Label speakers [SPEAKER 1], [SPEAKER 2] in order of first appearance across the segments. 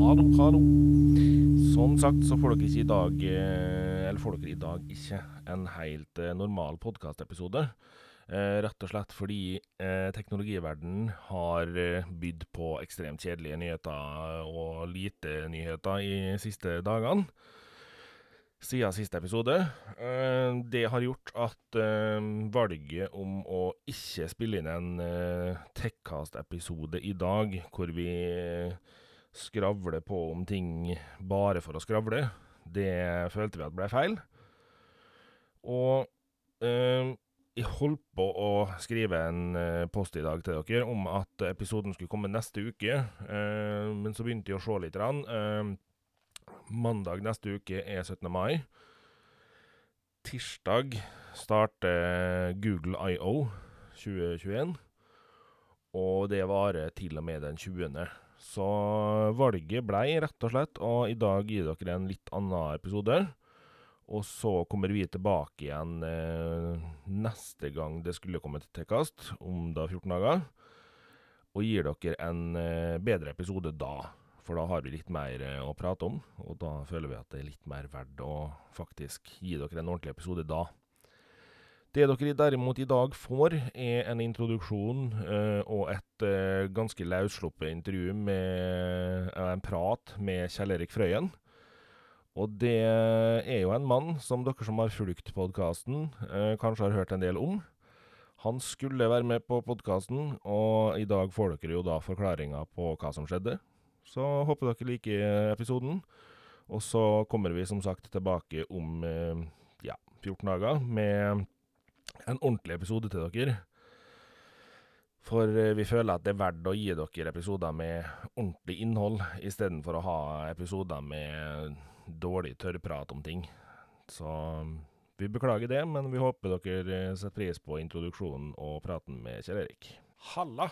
[SPEAKER 1] Hallo, hallo. Som sagt så får dere ikke i dag eh, Eller får dere i dag ikke en helt eh, normal podkastepisode. Eh, rett og slett fordi eh, teknologiverdenen har eh, bydd på ekstremt kjedelige nyheter og lite nyheter i siste dagene. Siden siste episode. Eh, det har gjort at eh, valget om å ikke spille inn en eh, Techcast-episode i dag, hvor vi eh, skravle på om ting bare for å skravle, det følte vi at ble feil. Og eh, jeg holdt på å skrive en eh, post i dag til dere om at episoden skulle komme neste uke, eh, men så begynte jeg å se litt. Rann. Eh, mandag neste uke er 17. mai. Tirsdag starter Google IO 2021, og det varer til og med den 20. Så valget blei rett og slett, og i dag gir dere en litt annen episode. Og så kommer vi tilbake igjen eh, neste gang det skulle komme til Tekast, om da 14 dager. Og gir dere en eh, bedre episode da, for da har vi litt mer eh, å prate om. Og da føler vi at det er litt mer verdt å faktisk gi dere en ordentlig episode da. Det dere derimot i dag får, er en introduksjon eh, og et eh, ganske løssluppet intervju med eh, en prat med Kjell Erik Frøyen. Og det er jo en mann som dere som har fulgt podkasten, eh, kanskje har hørt en del om. Han skulle være med på podkasten, og i dag får dere jo da forklaringa på hva som skjedde. Så håper dere liker episoden. Og så kommer vi som sagt tilbake om eh, ja, 14 dager med en ordentlig episode til dere. For eh, vi føler at det er verdt å gi dere episoder med ordentlig innhold, istedenfor å ha episoder med dårlig tørrprat om ting. Så mm, vi beklager det, men vi håper dere eh, setter pris på introduksjonen og praten med Kjell Erik. Halla!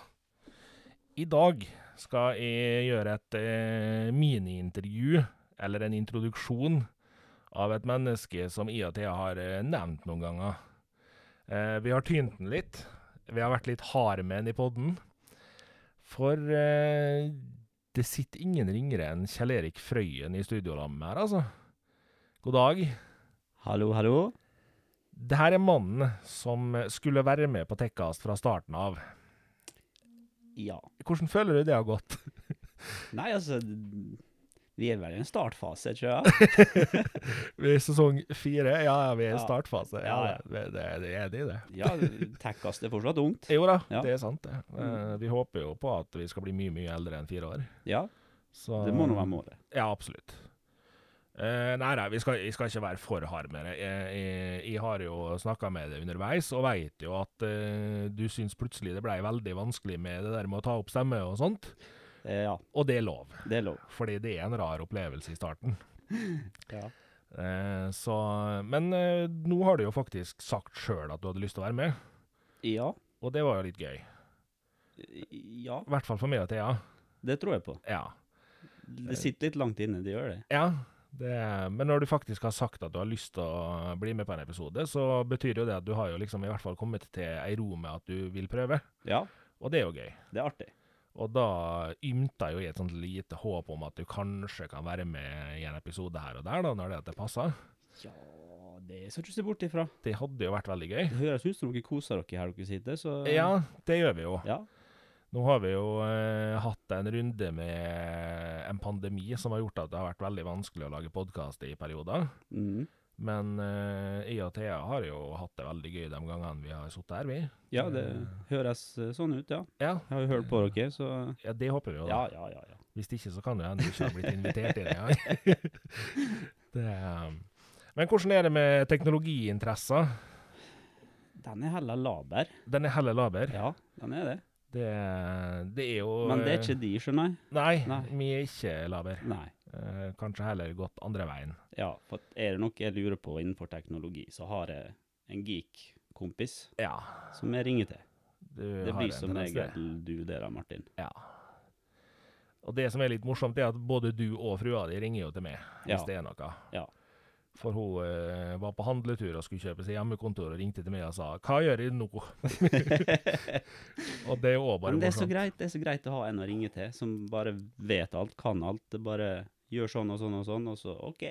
[SPEAKER 1] I dag skal jeg gjøre et eh, miniintervju, eller en introduksjon, av et menneske som jeg og Thea har eh, nevnt noen ganger. Eh, vi har tynt den litt. Vi har vært litt harde med den i podden. For eh, det sitter ingen ringere enn Kjell Erik Frøyen i studiolammet her, altså. God dag.
[SPEAKER 2] Hallo, hallo.
[SPEAKER 1] Det her er mannen som skulle være med på Tekkast fra starten av.
[SPEAKER 2] Ja.
[SPEAKER 1] Hvordan føler du det har gått?
[SPEAKER 2] Nei, altså Vi er vel i en startfase, tror jeg.
[SPEAKER 1] Vi er i sesong fire. Ja, ja, vi er i
[SPEAKER 2] Ja.
[SPEAKER 1] startfase. Ja,
[SPEAKER 2] Ja, ja.
[SPEAKER 1] Det, det, det er det, det.
[SPEAKER 2] Ja, Tekkast er fortsatt ungt.
[SPEAKER 1] Jo da,
[SPEAKER 2] Ja.
[SPEAKER 1] det er sant, det. Eh,
[SPEAKER 2] Mm.
[SPEAKER 1] Vi håper jo på at vi skal bli mye, mye eldre enn fire år.
[SPEAKER 2] Ja,
[SPEAKER 1] Så-
[SPEAKER 2] det må nå være målet.
[SPEAKER 1] Ja, absolutt. Eh, nei, nei, vi skal, jeg skal ikke være for hard med det. Jeg, jeg, jeg har jo snakka med deg underveis, og veit jo at eh, du syns plutselig det blei veldig vanskelig med det der med å ta opp stemme og sånt.
[SPEAKER 2] Eh, Ja,
[SPEAKER 1] Og det er lov,
[SPEAKER 2] det er lov.
[SPEAKER 1] fordi det er en rar opplevelse i starten.
[SPEAKER 2] Ja.
[SPEAKER 1] Eh, så, men eh, nå har du jo faktisk sagt sjøl at du hadde lyst til å være med,
[SPEAKER 2] ja.
[SPEAKER 1] og det var jo litt gøy.
[SPEAKER 2] Ja,
[SPEAKER 1] I hvert fall for meg og Thea.
[SPEAKER 2] det tror jeg på.
[SPEAKER 1] Ja.
[SPEAKER 2] Det sitter litt langt inne, det gjør det.
[SPEAKER 1] Ja, det, men når du faktisk har sagt at du har lyst til å bli med på en episode, så betyr jo det at du har jo liksom i hvert fall kommet til ei ro med at du vil prøve,
[SPEAKER 2] Ja,
[SPEAKER 1] og det er jo gøy.
[SPEAKER 2] det er artig.
[SPEAKER 1] Og da ymta jo jeg et sånt lite håp om at du kanskje kan være med i en episode her og der, da, når det, at det passer.
[SPEAKER 2] Ja, det skal du ikke se bort ifra.
[SPEAKER 1] Det hadde jo vært veldig gøy.
[SPEAKER 2] Det høres ut som dere koser dere her dere sitter, så
[SPEAKER 1] Ja, det gjør vi jo.
[SPEAKER 2] Ja,
[SPEAKER 1] Nå har vi jo eh, hatt en runde med en pandemi som har gjort at det har vært veldig vanskelig å lage podkast i perioder.
[SPEAKER 2] mm.
[SPEAKER 1] Men eh, jeg og Thea har jo hatt det veldig gøy de gangene vi har sittet her, vi.
[SPEAKER 2] ja det høres eh, sånn ut, ja.
[SPEAKER 1] Ja,
[SPEAKER 2] Jeg har jo hørt på dere, så
[SPEAKER 1] ja det håper vi jo.
[SPEAKER 2] Ja,
[SPEAKER 1] da.
[SPEAKER 2] ja, ja. ja.
[SPEAKER 1] Hvis ikke så kan det hende du ikke har blitt invitert inn engang. Det er, um, Men hvordan er det med teknologiinteresser?
[SPEAKER 2] Den er heller laber.
[SPEAKER 1] Den er heller laber.
[SPEAKER 2] Ja, den er det.
[SPEAKER 1] Det, det er jo eh,
[SPEAKER 2] Men det er ikke de, skjønner jeg.
[SPEAKER 1] Nei,
[SPEAKER 2] Nei.
[SPEAKER 1] vi er ikke laber.
[SPEAKER 2] Nei.
[SPEAKER 1] Eh, kanskje heller gått andre veien.
[SPEAKER 2] Ja, for er det noe jeg lurer på innenfor teknologi, så har jeg en geek-kompis
[SPEAKER 1] Ja.
[SPEAKER 2] som jeg ringer til.
[SPEAKER 1] Du
[SPEAKER 2] Det
[SPEAKER 1] har
[SPEAKER 2] blir
[SPEAKER 1] en
[SPEAKER 2] som
[SPEAKER 1] tendens til
[SPEAKER 2] regel
[SPEAKER 1] det.
[SPEAKER 2] du der, da, Martin.
[SPEAKER 1] Ja. Og det som er litt morsomt, er at både du og frua di ringer jo til meg hvis
[SPEAKER 2] Ja.
[SPEAKER 1] det er noe.
[SPEAKER 2] Ja.
[SPEAKER 1] For hun eh, var på handletur og skulle kjøpe seg hjemmekontor og ringte til meg og sa 'Hva gjør jeg nå?' og det er jo òg bare
[SPEAKER 2] Men det er, så
[SPEAKER 1] morsomt.
[SPEAKER 2] greit, det er så greit å ha en å ringe til som bare vet alt, kan alt. det Bare gjør sånn og sånn og sånn, og så OK.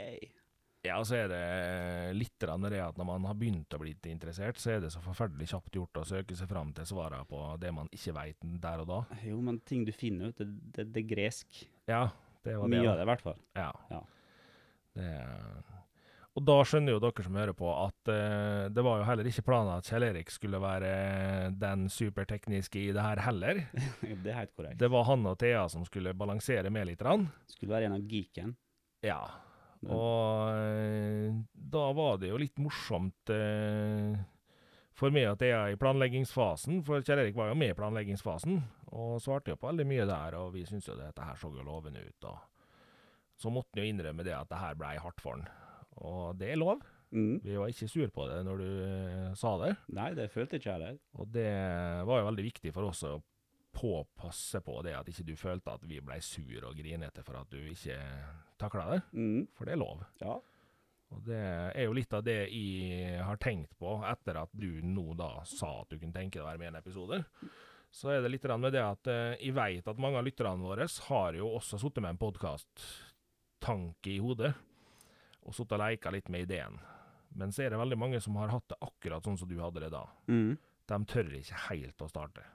[SPEAKER 1] Ja, og så er det eh, litt grann det at når man har begynt å bli litt interessert, så er det så forferdelig kjapt gjort å søke seg fram til svarene på det man ikke veit der og da.
[SPEAKER 2] Jo, men ting du finner ut, det, det, det er gresk.
[SPEAKER 1] Ja, det var det.
[SPEAKER 2] Mye
[SPEAKER 1] da.
[SPEAKER 2] av det, i hvert fall.
[SPEAKER 1] Ja.
[SPEAKER 2] Ja.
[SPEAKER 1] Det er... Og da skjønner jo dere som hører på, at eh, det var jo heller ikke planen at Kjell Erik skulle være eh, den supertekniske i det her heller.
[SPEAKER 2] Det er helt korrekt.
[SPEAKER 1] Det var han og Thea som skulle balansere med litt. Rann.
[SPEAKER 2] Skulle være en av geeken.
[SPEAKER 1] Ja. Og eh, da var det jo litt morsomt eh, for meg og Thea i planleggingsfasen, for Kjell Erik var jo med i planleggingsfasen, og svarte jo på veldig mye der, og vi syntes jo dette her så jo lovende ut. Og så måtte han jo innrømme det at det her blei hardt for han. Og det er lov.
[SPEAKER 2] Mm.
[SPEAKER 1] Vi var ikke sur på det når du eh, sa det,
[SPEAKER 2] Nei, det følte ikke jeg heller.
[SPEAKER 1] og det var jo veldig viktig for oss å påpasse på det at ikke du følte at vi blei sur og grinete for at du ikke takla det,
[SPEAKER 2] Mm.
[SPEAKER 1] for det er lov.
[SPEAKER 2] Ja.
[SPEAKER 1] Og det er jo litt av det jeg har tenkt på etter at du nå da sa at du kunne tenke deg å være med i en episode. Så er det litt grann med det at eh, jeg veit at mange av lytterne våre har jo også sittet med en podkast-tanke i hodet, og sittet og leika litt med ideen. Men så er det veldig mange som har hatt det akkurat sånn som du hadde det da.
[SPEAKER 2] Mm.
[SPEAKER 1] De tør ikke helt å starte.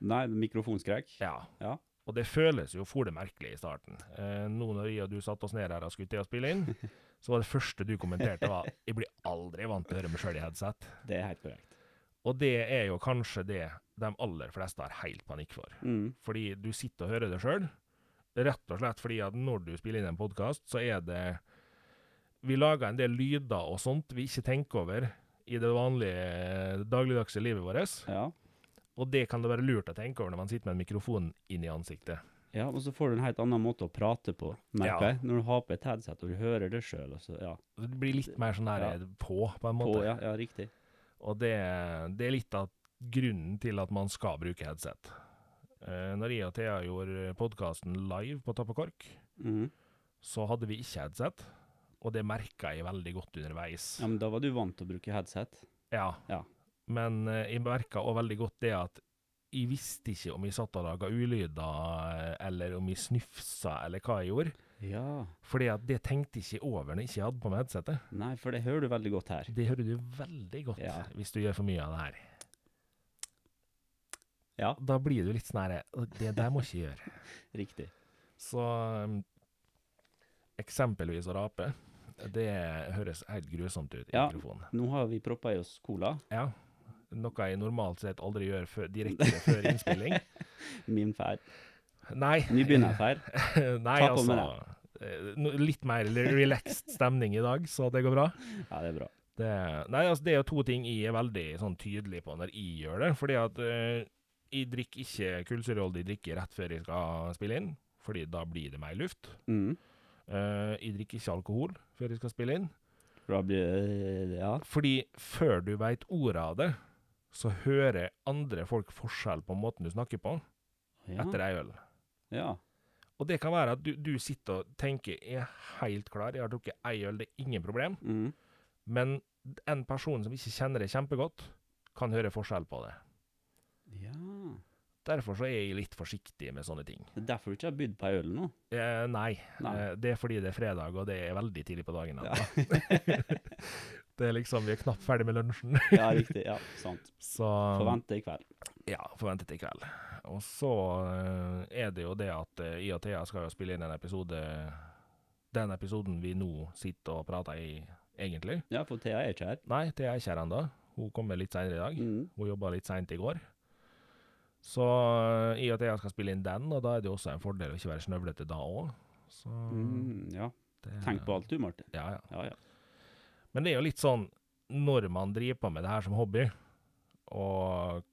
[SPEAKER 2] Nei, mikrofonskrekk.
[SPEAKER 1] Ja.
[SPEAKER 2] Ja.
[SPEAKER 1] Og det føles jo for det merkelig i starten. Eh, nå når jeg og du satte oss ned her og skulle til å spille inn, så var det første du kommenterte var 'Jeg blir aldri vant til å høre meg sjøl i headset'.
[SPEAKER 2] Det er helt korrekt.
[SPEAKER 1] Og det er jo kanskje det de aller fleste har helt panikk for.
[SPEAKER 2] Mm.
[SPEAKER 1] Fordi du sitter og hører det sjøl, rett og slett fordi at når du spiller inn en podkast, så er det Vi lager en del lyder og sånt vi ikke tenker over i det vanlige eh, dagligdagse livet vårt,
[SPEAKER 2] Ja.
[SPEAKER 1] og det kan det være lurt å tenke over når man sitter med en mikrofon inn i ansiktet.
[SPEAKER 2] ja, og så får du en helt annen måte å prate på, merker
[SPEAKER 1] Ja.
[SPEAKER 2] jeg. Når du har på et headset og du hører det sjøl, og så ja.
[SPEAKER 1] Det blir litt mer sånn der
[SPEAKER 2] Ja.
[SPEAKER 1] på, på en
[SPEAKER 2] På,
[SPEAKER 1] måte.
[SPEAKER 2] ja, ja, riktig.
[SPEAKER 1] Og det, det er litt av grunnen til at man skal bruke headset. Eh, når jeg og Thea gjorde podkasten live på Tappe Kork,
[SPEAKER 2] Mm.
[SPEAKER 1] så hadde vi ikke headset. Og det merka jeg veldig godt underveis.
[SPEAKER 2] Ja, men da var du vant til å bruke headset.
[SPEAKER 1] Ja.
[SPEAKER 2] Ja.
[SPEAKER 1] Men eh, jeg merka òg veldig godt det at jeg visste ikke om jeg satt og laga ulyder, eh, eller om jeg snufsa, eller hva jeg gjorde.
[SPEAKER 2] Ja.
[SPEAKER 1] Fordi at det tenkte jeg ikke over når jeg ikke hadde på meg headsetet.
[SPEAKER 2] Nei, for det hører du veldig godt her.
[SPEAKER 1] Det hører du veldig godt
[SPEAKER 2] Ja.
[SPEAKER 1] hvis du gjør for mye av det her.
[SPEAKER 2] Ja,
[SPEAKER 1] da blir du litt sånn her «Å, Det der må ikke jeg gjøre.
[SPEAKER 2] riktig.
[SPEAKER 1] Så um, eksempelvis å rape, det høres helt grusomt ut i
[SPEAKER 2] Ja.
[SPEAKER 1] mikrofonen.
[SPEAKER 2] Nå har vi proppa i oss cola.
[SPEAKER 1] Ja. Noe jeg normalt sett aldri gjør før, direkte før innspilling.
[SPEAKER 2] Min feil.
[SPEAKER 1] Nei.
[SPEAKER 2] Nybegynnerfeil.
[SPEAKER 1] Nei,
[SPEAKER 2] Ta på med
[SPEAKER 1] altså. eh, no- Litt mer relaxed stemning i dag, så det går bra.
[SPEAKER 2] Ja, det er bra.
[SPEAKER 1] Det, nei, altså, det er jo to ting jeg er veldig sånn, tydelig på når jeg gjør det. Fordi at eh, jeg drikker ikke kullsyreholdig drikke rett før jeg skal spille inn, fordi da blir det mer luft.
[SPEAKER 2] Mm.
[SPEAKER 1] Eh, jeg drikker ikke alkohol før jeg skal spille inn.
[SPEAKER 2] For da blir det Ja.
[SPEAKER 1] Fordi før du veit ordet av det, så hører andre folk forskjell på måten du snakker på
[SPEAKER 2] Ja.
[SPEAKER 1] etter ei øl.
[SPEAKER 2] ja.
[SPEAKER 1] Og det kan være at du, du sitter og tenker 'jeg er helt klar, jeg har drukket ei øl, det er ingen problem',
[SPEAKER 2] Mm.
[SPEAKER 1] men en person som ikke kjenner det kjempegodt, kan høre forskjell på det.
[SPEAKER 2] ja.
[SPEAKER 1] Derfor så er jeg litt forsiktig med sånne ting.
[SPEAKER 2] Det er derfor du ikke har bydd på ei øl nå.
[SPEAKER 1] Eh, nei,
[SPEAKER 2] Nei.
[SPEAKER 1] Eh, det er fordi det er fredag, og det er veldig tidlig på dagen.
[SPEAKER 2] Ja.
[SPEAKER 1] ennå. Det er liksom, Vi er knapt ferdig med lunsjen.
[SPEAKER 2] ja, riktig. Ja, sant.
[SPEAKER 1] Så
[SPEAKER 2] Forvente i kveld.
[SPEAKER 1] Ja, forventet i kveld. Og så eh, er det jo det at eh, jeg og Thea skal jo spille inn en episode Den episoden vi nå sitter og prater i, egentlig.
[SPEAKER 2] Ja, for Thea er ikke her.
[SPEAKER 1] Nei, Thea er ikke her ennå. Hun kommer litt seinere i dag.
[SPEAKER 2] Mm.
[SPEAKER 1] Hun jobba litt seint i går. Så eh, jeg og Thea skal spille inn den, og da er det jo også en fordel å ikke være snøvlete da òg. Så
[SPEAKER 2] Mm. Ja.
[SPEAKER 1] det-
[SPEAKER 2] Tenk på alt du, Martin.
[SPEAKER 1] Ja, ja.
[SPEAKER 2] Ja, ja.
[SPEAKER 1] Men det er jo litt sånn når man driver på med det her som hobby, og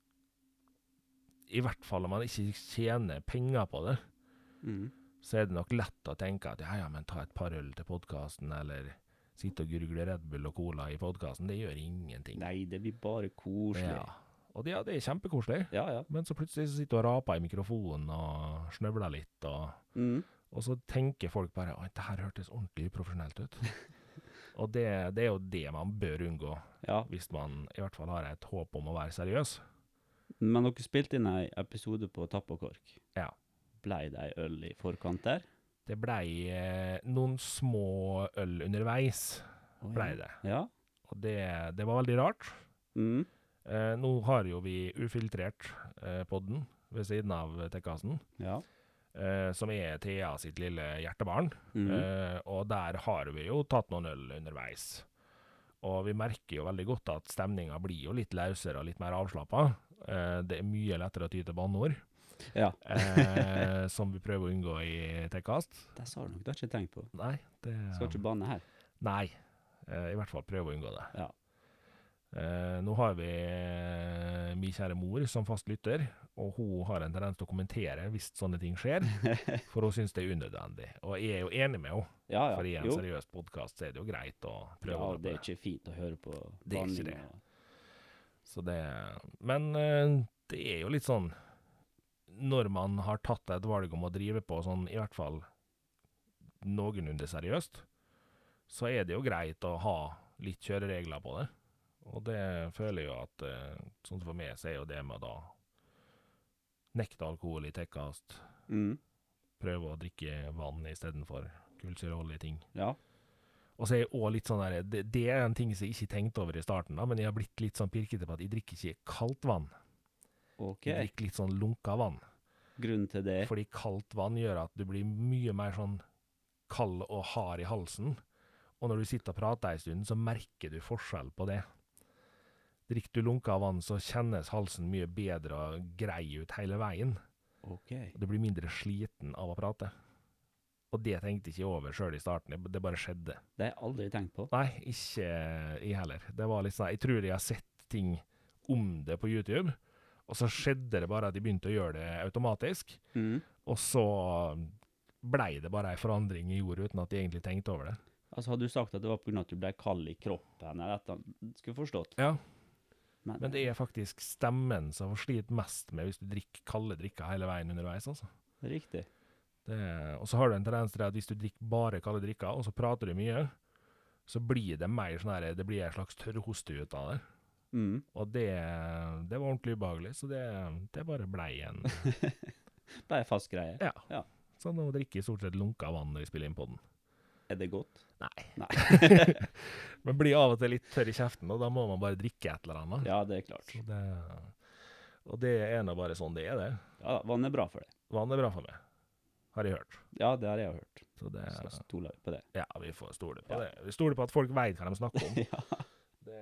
[SPEAKER 1] I hvert fall om man ikke tjener penger på det,
[SPEAKER 2] Mm.
[SPEAKER 1] så er det nok lett å tenke at ja, ja, men ta et par øl til podkasten, eller sitte og gurgle Red Bull og Cola i podkasten. Det gjør ingenting.
[SPEAKER 2] Nei, det blir bare koselig.
[SPEAKER 1] Ja. Og det, ja, det er kjempekoselig.
[SPEAKER 2] Ja, ja.
[SPEAKER 1] Men så plutselig så sitter du og raper i mikrofonen og snøvler litt, og,
[SPEAKER 2] Mm.
[SPEAKER 1] og så tenker folk bare at det her hørtes ordentlig uprofesjonelt ut. og det, det er jo det man bør unngå,
[SPEAKER 2] ja.
[SPEAKER 1] hvis man i hvert fall har et håp om å være seriøs.
[SPEAKER 2] Men dere spilte inn ei episode på Tapp og Kork.
[SPEAKER 1] Ja.
[SPEAKER 2] Blei det ei øl i forkant der?
[SPEAKER 1] Det blei eh, noen små øl underveis,
[SPEAKER 2] Oh,
[SPEAKER 1] blei det.
[SPEAKER 2] Ja.
[SPEAKER 1] Og det, det var veldig rart.
[SPEAKER 2] Mm.
[SPEAKER 1] Eh, nå har jo vi ufiltrert eh, podden ved siden av Tekkasen,
[SPEAKER 2] Ja.
[SPEAKER 1] eh, som er Thea sitt lille hjertebarn.
[SPEAKER 2] Mm.
[SPEAKER 1] Eh, og der har vi jo tatt noen øl underveis. Og vi merker jo veldig godt at stemninga blir jo litt løsere og litt mer avslappa. Eh, det er mye lettere å ty til banneord,
[SPEAKER 2] ja.
[SPEAKER 1] eh, som vi prøver å unngå i Tekkast.
[SPEAKER 2] Det sa du nok, det har jeg ikke tenkt på.
[SPEAKER 1] Nei, det
[SPEAKER 2] Skal ikke banne her.
[SPEAKER 1] Nei. Eh, I hvert fall prøve å unngå det.
[SPEAKER 2] Ja.
[SPEAKER 1] Eh, nå har vi eh, min kjære mor som fast lytter, og hun har en tendens til å kommentere hvis sånne ting skjer, for hun syns det er unødvendig. Og jeg er jo enig med henne,
[SPEAKER 2] Ja, ja.
[SPEAKER 1] for i en
[SPEAKER 2] jo.
[SPEAKER 1] seriøs podkast er det jo greit å prøve
[SPEAKER 2] Ja,
[SPEAKER 1] å
[SPEAKER 2] det
[SPEAKER 1] det.
[SPEAKER 2] er ikke fint å høre på
[SPEAKER 1] Det er ikke
[SPEAKER 2] banning
[SPEAKER 1] det.
[SPEAKER 2] og-
[SPEAKER 1] Så det Men eh, det er jo litt sånn Når man har tatt et valg om å drive på sånn, i hvert fall noenlunde seriøst, så er det jo greit å ha litt kjøreregler på det. Og det føler jeg jo at eh, Sånn som for meg, så er jo det med å da nekte alkohol i tekkast,
[SPEAKER 2] Mm.
[SPEAKER 1] prøve å drikke vann istedenfor kullsyreholdige ting.
[SPEAKER 2] Ja.
[SPEAKER 1] Og så er jeg også litt sånn der, det, det er en ting som jeg ikke tenkte over i starten, da, men jeg har blitt litt sånn pirkete på at jeg drikker ikke kaldt vann.
[SPEAKER 2] OK.
[SPEAKER 1] Jeg drikker litt sånn lunka vann.
[SPEAKER 2] Grunnen til det
[SPEAKER 1] Fordi kaldt vann gjør at du blir mye mer sånn kald og hard i halsen. Og når du sitter og prater en stund, så merker du forskjell på det. Drikker du lunka vann, så kjennes halsen mye bedre og grei ut hele veien.
[SPEAKER 2] OK.
[SPEAKER 1] Og du blir mindre sliten av å prate. Og det tenkte jeg ikke over sjøl i starten, det- det bare skjedde.
[SPEAKER 2] Det har jeg aldri tenkt på.
[SPEAKER 1] Nei, ikke jeg heller. Det var litt sånn, Jeg tror jeg har sett ting om det på YouTube, og så skjedde det bare at de begynte å gjøre det automatisk.
[SPEAKER 2] Mm.
[SPEAKER 1] Og så blei det bare ei forandring i jorda uten at de egentlig tenkte over det.
[SPEAKER 2] Altså, hadde du sagt at det var pga. at du ble kald i kroppen, eller et eller annet, skulle jeg forstått.
[SPEAKER 1] Ja. Men det er faktisk stemmen som får slite mest med hvis du drikker kalde drikker hele veien underveis. altså.
[SPEAKER 2] Riktig.
[SPEAKER 1] Det, og så har du en tendens til at hvis du drikker bare kalde drikker, og så prater du mye, så blir det mer sånn her, det blir en slags tørrhoste ut av det.
[SPEAKER 2] Mm.
[SPEAKER 1] Og det, det var ordentlig ubehagelig, så det, det bare blei en
[SPEAKER 2] Bare en fast greie.
[SPEAKER 1] Ja.
[SPEAKER 2] Ja.
[SPEAKER 1] Så nå drikker jeg stort sett lunka vann når jeg spiller inn på den.
[SPEAKER 2] Er det godt?
[SPEAKER 1] Men blir av og til litt tørr i kjeften, og da må man bare drikke et eller annet.
[SPEAKER 2] Ja, det er klart.
[SPEAKER 1] Så det, og det er nå bare sånn det er, det.
[SPEAKER 2] Ja, Vann er bra for det.
[SPEAKER 1] Vann er bra for meg, har jeg hørt.
[SPEAKER 2] Ja, det har jeg hørt.
[SPEAKER 1] Så det,
[SPEAKER 2] Så stoler vi på det.
[SPEAKER 1] ja, vi får stole på
[SPEAKER 2] Sånn, Ja.
[SPEAKER 1] det. Vi stoler på at folk veit hva de snakker om.
[SPEAKER 2] ja.
[SPEAKER 1] Det...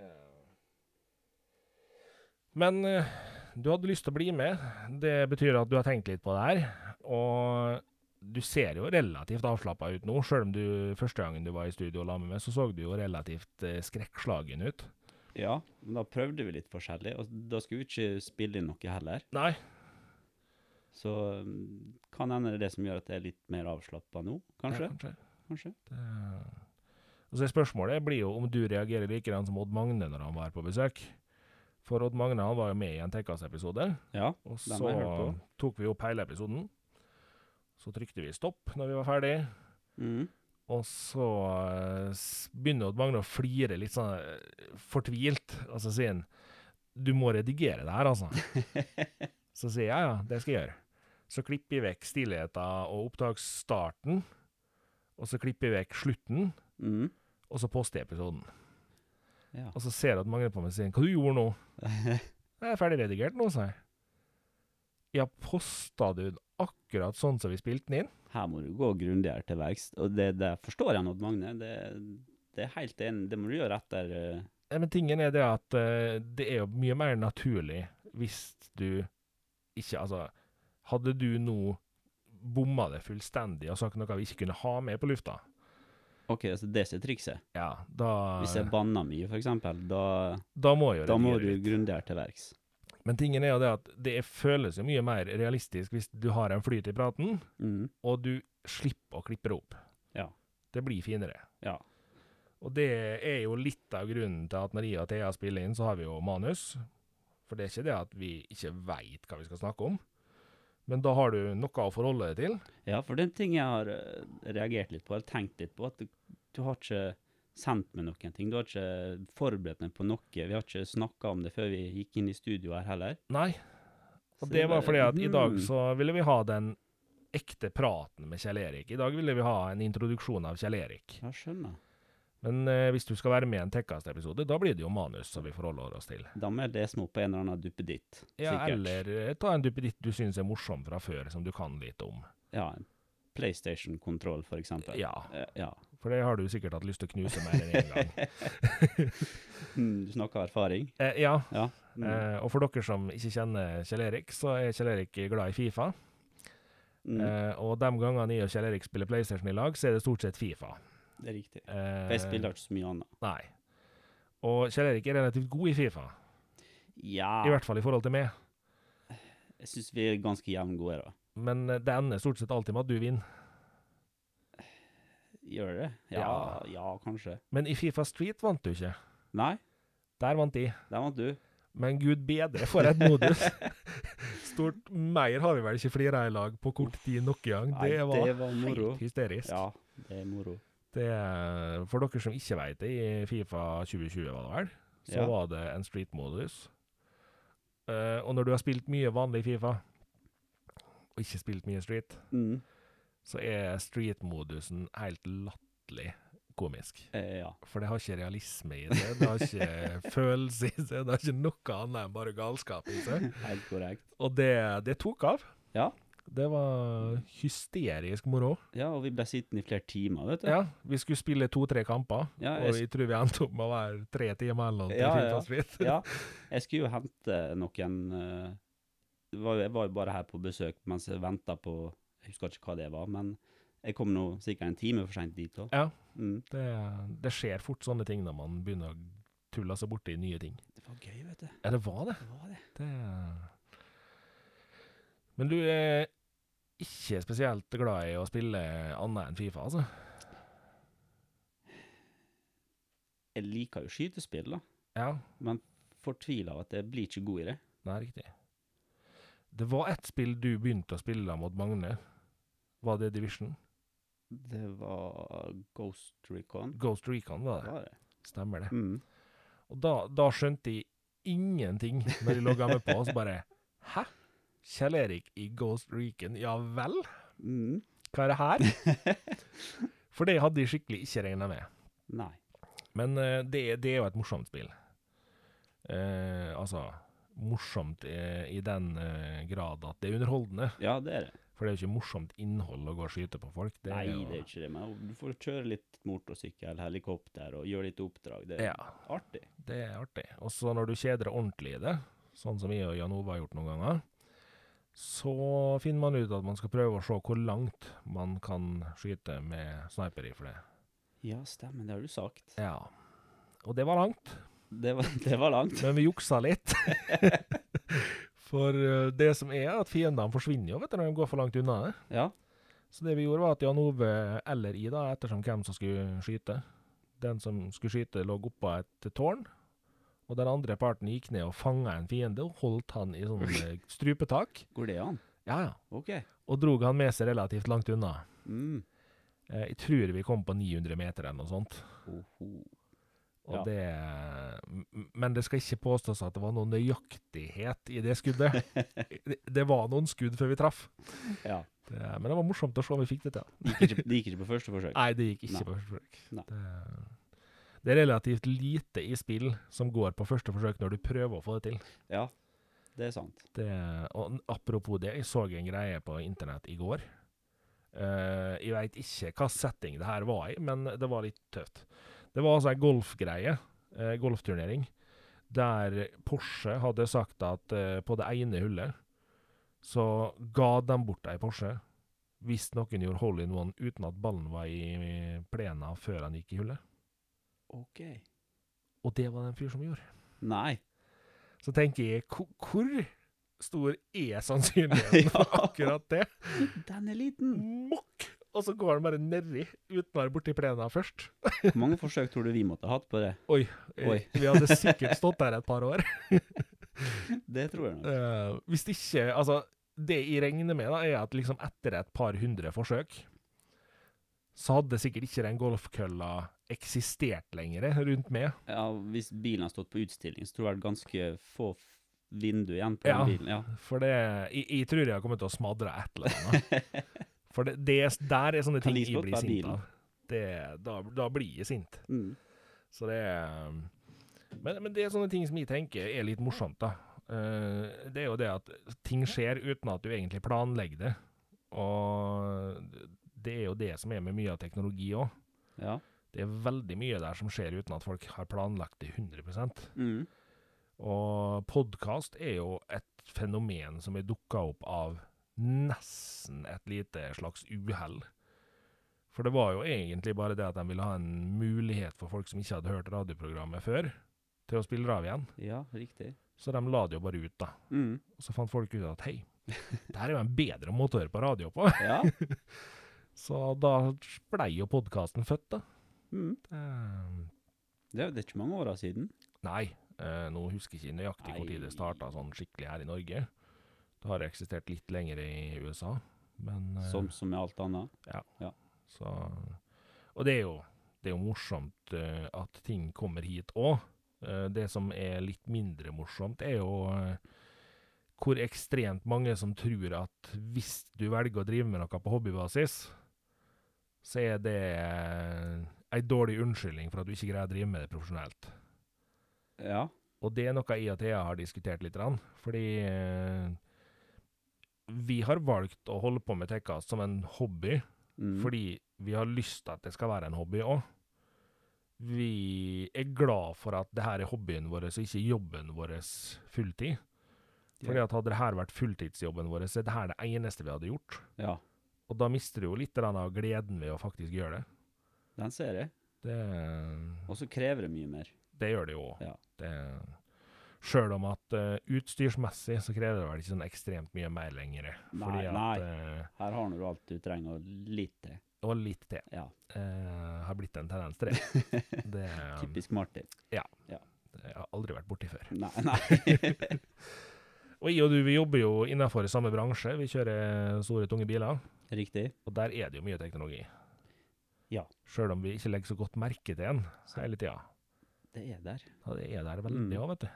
[SPEAKER 1] Men eh, du hadde lyst til å bli med. Det betyr at du har tenkt litt på det her. Og du ser jo relativt avslappa ut nå, sjøl om du første gangen du var i studio og la meg med, så så du jo relativt eh, skrekkslagen ut.
[SPEAKER 2] ja, men da prøvde vi litt forskjellig, og da skulle vi ikke spille inn noe heller.
[SPEAKER 1] Nei.
[SPEAKER 2] Så mm, kan hende det er det som gjør at jeg er litt mer avslappa nå, kanskje.
[SPEAKER 1] Ja, kanskje.
[SPEAKER 2] kanskje.
[SPEAKER 1] Det... Og så er Eh, altså, spørsmålet blir jo om du reagerer like grann som Odd Magne når han var på besøk. For Odd Magne han var jo med i en Tekkas-episode.
[SPEAKER 2] Ja.
[SPEAKER 1] Og
[SPEAKER 2] Den har jeg hørt
[SPEAKER 1] så
[SPEAKER 2] på.
[SPEAKER 1] tok vi opp hele episoden. Så trykte vi stopp når vi var ferdig.
[SPEAKER 2] Mm.
[SPEAKER 1] Og så eh, s- begynner Odd Magne å flire litt sånn eh, fortvilt, og så sier han Du må redigere det her, altså. så sier jeg ja, ja, det skal jeg gjøre. Så klipper jeg vekk stillheten og opptaksstarten, og så klipper jeg vekk slutten,
[SPEAKER 2] Mm.
[SPEAKER 1] og så poster jeg episoden.
[SPEAKER 2] Ja.
[SPEAKER 1] Og så ser Odd Magne på meg og sier Hva du gjorde nå? Jeg er ferdig redigert nå, sa jeg. Ja, posta du den akkurat sånn som vi spilte den inn?
[SPEAKER 2] Her må du gå grundigere til verks, og det, det forstår jeg nå, Magne. Det, det er helt enig. Det må du gjøre etter eh,
[SPEAKER 1] Ja, Men tingen er det at eh, det er jo mye mer naturlig hvis du ikke Altså, hadde du nå bomma det fullstendig og sagt noe vi ikke kunne ha med på lufta,
[SPEAKER 2] OK, altså det som er trikset.
[SPEAKER 1] Ah, ja, da,
[SPEAKER 2] Hvis jeg banner mye, for eksempel, da,
[SPEAKER 1] da må jeg jo
[SPEAKER 2] da må
[SPEAKER 1] redigere
[SPEAKER 2] du
[SPEAKER 1] litt.
[SPEAKER 2] grundigere til verks.
[SPEAKER 1] Men tingen er jo det at det føles jo mye mer realistisk hvis du har en flyt i praten,
[SPEAKER 2] Mm.
[SPEAKER 1] og du slipper å klippe det opp.
[SPEAKER 2] Ja.
[SPEAKER 1] Det blir finere.
[SPEAKER 2] Ja.
[SPEAKER 1] Og det er jo litt av grunnen til at Maria og Thea spiller inn, så har vi jo manus. For det er ikke det at vi ikke veit hva vi skal snakke om, men da har du noe å forholde deg til.
[SPEAKER 2] ja, for det er en ting jeg har eh, reagert litt på, eller tenkt litt på, at du, du har ikke sendt meg noen ting. Du har ikke forberedt meg på noe. Vi har ikke snakka om det før vi gikk inn i studio her heller.
[SPEAKER 1] Nei.
[SPEAKER 2] Så
[SPEAKER 1] Og det
[SPEAKER 2] jeg
[SPEAKER 1] var
[SPEAKER 2] bare,
[SPEAKER 1] fordi at i dag
[SPEAKER 2] hmm.
[SPEAKER 1] så ville vi ha den ekte praten med Kjell Erik. I dag ville vi ha en introduksjon av Kjell Erik.
[SPEAKER 2] Ja, skjønner.
[SPEAKER 1] Men eh, hvis du skal være med i en Tekkast-episode, da blir det jo manus som vi forholder oss til.
[SPEAKER 2] Da må jeg lese meg opp på en eller annen duppeditt.
[SPEAKER 1] Ja,
[SPEAKER 2] sikkert.
[SPEAKER 1] eller eh, ta en duppeditt du syns er morsom fra før, som du kan litt om.
[SPEAKER 2] Ja, en PlayStation-kontroll, for eksempel.
[SPEAKER 1] Ja,
[SPEAKER 2] Eh, ja.
[SPEAKER 1] for det har du sikkert hatt lyst til å knuse mer enn én gang.
[SPEAKER 2] Mm, Du snakker av erfaring.
[SPEAKER 1] Eh, ja,
[SPEAKER 2] Ja. Mm.
[SPEAKER 1] eh, og for dere som ikke kjenner Kjell Erik, så er Kjell Erik glad i Fifa.
[SPEAKER 2] Mm.
[SPEAKER 1] Eh, og de gangene jeg og Kjell Erik spiller PlayStation i lag, så er det stort sett Fifa.
[SPEAKER 2] Det er riktig.
[SPEAKER 1] Eh,
[SPEAKER 2] For jeg spiller ikke så mye annet.
[SPEAKER 1] Nei. Og Kjell Erik er relativt god i Fifa, i
[SPEAKER 2] Ja,
[SPEAKER 1] hvert fall i forhold til meg.
[SPEAKER 2] jeg syns vi er ganske jevngode, da.
[SPEAKER 1] Men eh, det ender stort sett alltid med at du vinner.
[SPEAKER 2] Gjør det? Ja,
[SPEAKER 1] Ja.
[SPEAKER 2] ja, kanskje.
[SPEAKER 1] Men i Fifa Street vant du ikke.
[SPEAKER 2] Nei,
[SPEAKER 1] Der vant de.
[SPEAKER 2] der vant du.
[SPEAKER 1] Men gud bedre for et modus. Stort mer har vi vel ikke flira i lag på kort tid nok gang.
[SPEAKER 2] Nei,
[SPEAKER 1] Det var,
[SPEAKER 2] det var moro.
[SPEAKER 1] helt hysterisk.
[SPEAKER 2] Ja, det er moro.
[SPEAKER 1] Det, for dere som ikke vet det, i Fifa 2020 var det vel, så
[SPEAKER 2] Ja.
[SPEAKER 1] var det en street-modus. Eh, og når du har spilt mye vanlig Fifa, og ikke spilt mye street,
[SPEAKER 2] Mm.
[SPEAKER 1] så er street-modusen helt latterlig komisk.
[SPEAKER 2] Eh, ja.
[SPEAKER 1] For det har ikke realisme i det, det har ikke følelse i seg, det har ikke noe annet enn bare galskap i seg.
[SPEAKER 2] Helt korrekt.
[SPEAKER 1] Og det, det tok av.
[SPEAKER 2] Ja.
[SPEAKER 1] Det var hysterisk moro.
[SPEAKER 2] Ja, og vi ble sittende i flere timer, vet du.
[SPEAKER 1] Ja, vi skulle spille to-tre kamper,
[SPEAKER 2] Ja,
[SPEAKER 1] og
[SPEAKER 2] jeg
[SPEAKER 1] jeg tror vi endte opp med å være tre timer eller noe.
[SPEAKER 2] Ja,
[SPEAKER 1] til
[SPEAKER 2] ja.
[SPEAKER 1] Fifa Street.
[SPEAKER 2] Ja, jeg skulle jo hente noen eh, det var, Jeg var jo bare her på besøk mens jeg venta på Jeg husker ikke hva det var, men jeg kom nå sikkert en time for seint dit òg.
[SPEAKER 1] Ja.
[SPEAKER 2] Mm.
[SPEAKER 1] Det, det skjer fort sånne ting når man begynner å tulle seg borti nye ting.
[SPEAKER 2] Det var gøy, vet du.
[SPEAKER 1] Ja, det var det.
[SPEAKER 2] Det var det.
[SPEAKER 1] det. Men du er ikke spesielt glad i å spille annet enn Fifa, altså?
[SPEAKER 2] Jeg liker jo skytespill, da.
[SPEAKER 1] Ja,
[SPEAKER 2] Fortviler av at jeg blir ikke god i det.
[SPEAKER 1] det er riktig. Det var ett spill du begynte å spille mot Magne. Var det Division?
[SPEAKER 2] Det var Ghost Recon.
[SPEAKER 1] Ghost Recon, var
[SPEAKER 2] Det
[SPEAKER 1] det.
[SPEAKER 2] var det.
[SPEAKER 1] Stemmer det.
[SPEAKER 2] Mm.
[SPEAKER 1] Og da, da skjønte jeg ingenting når de logga meg på, og så bare Hæ? Kjell Erik i Ghost Recon, ja vel?
[SPEAKER 2] Mm.
[SPEAKER 1] Hva er det her? For det hadde jeg skikkelig ikke regna med.
[SPEAKER 2] Nei.
[SPEAKER 1] Men eh, det, er- det er jo et morsomt spill. Eh, altså morsomt eh, i den eh, grad at det er underholdende.
[SPEAKER 2] Ja, det er det.
[SPEAKER 1] For det er jo ikke morsomt innhold å gå og skyte på folk. Det
[SPEAKER 2] Nei,
[SPEAKER 1] er jo,
[SPEAKER 2] det er ikke det. Men du får kjøre litt motorsykkel, helikopter og gjøre litt oppdrag. Det er
[SPEAKER 1] Ja,
[SPEAKER 2] artig.
[SPEAKER 1] det er artig. Og så når du kjeder deg ordentlig i det, sånn som jeg og Jan Ove har gjort noen ganger, så finner man ut at man skal prøve å se hvor langt man kan skyte med sniperrifle.
[SPEAKER 2] Ja, stemmer. Det har du sagt.
[SPEAKER 1] Ja. Og det var langt.
[SPEAKER 2] Det var, det var langt.
[SPEAKER 1] Men vi juksa litt. for eh, det som er, at fiendene forsvinner jo vet du, når de går for langt unna. det.
[SPEAKER 2] Ja.
[SPEAKER 1] Så det vi gjorde, var at Jan Ove eller I, da, ettersom hvem som skulle skyte Den som skulle skyte, lå oppå et tårn. Og den andre parten gikk ned og fanga en fiende og holdt han i sånn eh, strupetak.
[SPEAKER 2] Går det an?
[SPEAKER 1] Ja, ja.
[SPEAKER 2] OK.
[SPEAKER 1] Og drog han med seg relativt langt unna.
[SPEAKER 2] Mm.
[SPEAKER 1] Eh, jeg tror vi kom på 900 meter eller noe sånt.
[SPEAKER 2] Oho.
[SPEAKER 1] Og
[SPEAKER 2] Ja.
[SPEAKER 1] det, m- men det skal ikke påstås at det var noen nøyaktighet i det skuddet. det, det var noen skudd før vi traff.
[SPEAKER 2] Ja.
[SPEAKER 1] Det, men det var morsomt å se om vi fikk det til.
[SPEAKER 2] Det gikk, ikke, det gikk ikke på første forsøk.
[SPEAKER 1] Nei, det gikk ikke
[SPEAKER 2] Nei.
[SPEAKER 1] på første forsøk.
[SPEAKER 2] Nei.
[SPEAKER 1] Det, det er relativt lite i spill som går på første forsøk når du prøver å få det til.
[SPEAKER 2] Ja, det er sant.
[SPEAKER 1] Det, eh, og n- apropos det, jeg så en greie på internett i går. Eh, jeg veit ikke hva setting det her var i, men det var litt tøft. Det var altså ei golfgreie, eh, golfturnering, der Porsche hadde sagt at eh, på det ene hullet så ga de bort ei Porsche hvis noen gjorde hole in one uten at ballen var i plena før han gikk i hullet.
[SPEAKER 2] OK.
[SPEAKER 1] Og det var det en fyr som gjorde.
[SPEAKER 2] Nei.
[SPEAKER 1] så tenker jeg "Ko- Hvor stor er sannsynligheten for akkurat det?
[SPEAKER 2] Den er liten!
[SPEAKER 1] Mokk! Og så går den bare nedi uten å være borti plena først. Eh,
[SPEAKER 2] Hvor mange forsøk tror du vi måtte ha hatt på det? Oi.
[SPEAKER 1] Vi hadde sikkert stått der et par år.
[SPEAKER 2] Det tror jeg nok.
[SPEAKER 1] Eh, hvis ikke Altså, det jeg regner med, da, er at liksom etter et par hundre forsøk, så hadde sikkert ikke den golfkølla eksistert lenger eh, rundt meg.
[SPEAKER 2] Ja, hvis bilen har stått på utstilling, så tror jeg det er ganske få f- vindu igjen på
[SPEAKER 1] Ja.
[SPEAKER 2] den bilen. Ja.
[SPEAKER 1] For det Jeg, jeg tror jeg har kommet til å smadre et eller annet. For det, det er- der er sånne
[SPEAKER 2] Kan
[SPEAKER 1] ting
[SPEAKER 2] like
[SPEAKER 1] jeg
[SPEAKER 2] godt
[SPEAKER 1] blir
[SPEAKER 2] være
[SPEAKER 1] sint
[SPEAKER 2] bilen.
[SPEAKER 1] av. Det, da, da blir jeg sint.
[SPEAKER 2] Mm.
[SPEAKER 1] Så det er men, men det er sånne ting som jeg tenker er litt morsomt, da. Eh, det er jo det at ting skjer uten at du egentlig planlegger det. Og det er jo det som er med mye av teknologi òg.
[SPEAKER 2] Ja.
[SPEAKER 1] Det er veldig mye der som skjer uten at folk har planlagt det 100
[SPEAKER 2] Mm.
[SPEAKER 1] Og podkast er jo et fenomen som er dukka opp av nesten et lite slags uhell. For det var jo egentlig bare det at de ville ha en mulighet for folk som ikke hadde hørt radioprogrammet før, til å spille det av igjen.
[SPEAKER 2] ja, riktig.
[SPEAKER 1] Så de la det jo bare ut, da.
[SPEAKER 2] Mm.
[SPEAKER 1] Og så fant folk ut at hei, det her er jo en bedre måte å høre på radio på.
[SPEAKER 2] Ja.
[SPEAKER 1] Så da blei jo podkasten født, da.
[SPEAKER 2] Mm.
[SPEAKER 1] Eh,
[SPEAKER 2] Det, er- det er ikke mange åra siden.
[SPEAKER 1] Nei, eh, nå husker jeg ikke nøyaktig hvor tid det
[SPEAKER 2] Nei.
[SPEAKER 1] starta sånn skikkelig her i Norge. Det har eksistert litt lenger i USA, men eh,
[SPEAKER 2] Som, som med alt annet.
[SPEAKER 1] så, Og det er jo, det er jo morsomt eh, at ting kommer hit òg. det som er litt mindre morsomt, er jo eh, hvor ekstremt mange som tror at hvis du velger å drive med noe på hobbybasis, så er det eh, ei dårlig unnskyldning for at du ikke greier å drive med det profesjonelt.
[SPEAKER 2] Ja.
[SPEAKER 1] Og det er noe jeg og Thea har diskutert litt, grann, fordi eh, vi har valgt å holde på med Tekkas som en hobby,
[SPEAKER 2] Mm.
[SPEAKER 1] fordi vi har lyst til at det skal være en hobby òg. Vi er glad for at det her er hobbyen vår og ikke jobben vår fulltid.
[SPEAKER 2] Ja.
[SPEAKER 1] Fordi at hadde det her vært fulltidsjobben vår, så er det her det eneste vi hadde gjort.
[SPEAKER 2] Ja.
[SPEAKER 1] Og da mister du jo litt grann av gleden ved å faktisk gjøre det.
[SPEAKER 2] Den ser jeg.
[SPEAKER 1] Det,
[SPEAKER 2] Og så krever det mye mer.
[SPEAKER 1] det gjør det jo òg.
[SPEAKER 2] Ja.
[SPEAKER 1] Sjøl om at eh, utstyrsmessig så krever det vel ikke sånn ekstremt mye mer lenger.
[SPEAKER 2] Nei,
[SPEAKER 1] Fordi
[SPEAKER 2] nei.
[SPEAKER 1] at eh,
[SPEAKER 2] Her har nå du alt du trenger, og litt eh, til.
[SPEAKER 1] Og litt til.
[SPEAKER 2] Ja.
[SPEAKER 1] eh, har blitt en tendens til det. Det eh,
[SPEAKER 2] Typisk Martin.
[SPEAKER 1] det har jeg aldri vært borti før.
[SPEAKER 2] Nei, nei.
[SPEAKER 1] Og jeg og du vi jobber jo innenfor samme bransje. Vi kjører store, tunge biler.
[SPEAKER 2] Riktig.
[SPEAKER 1] Og der er det jo mye teknologi.
[SPEAKER 2] Ja.
[SPEAKER 1] Sjøl om vi ikke legger så godt merke til den hele tida.
[SPEAKER 2] Det er der.
[SPEAKER 1] Ja, det er der veldig
[SPEAKER 2] Mm.
[SPEAKER 1] òg, vet du.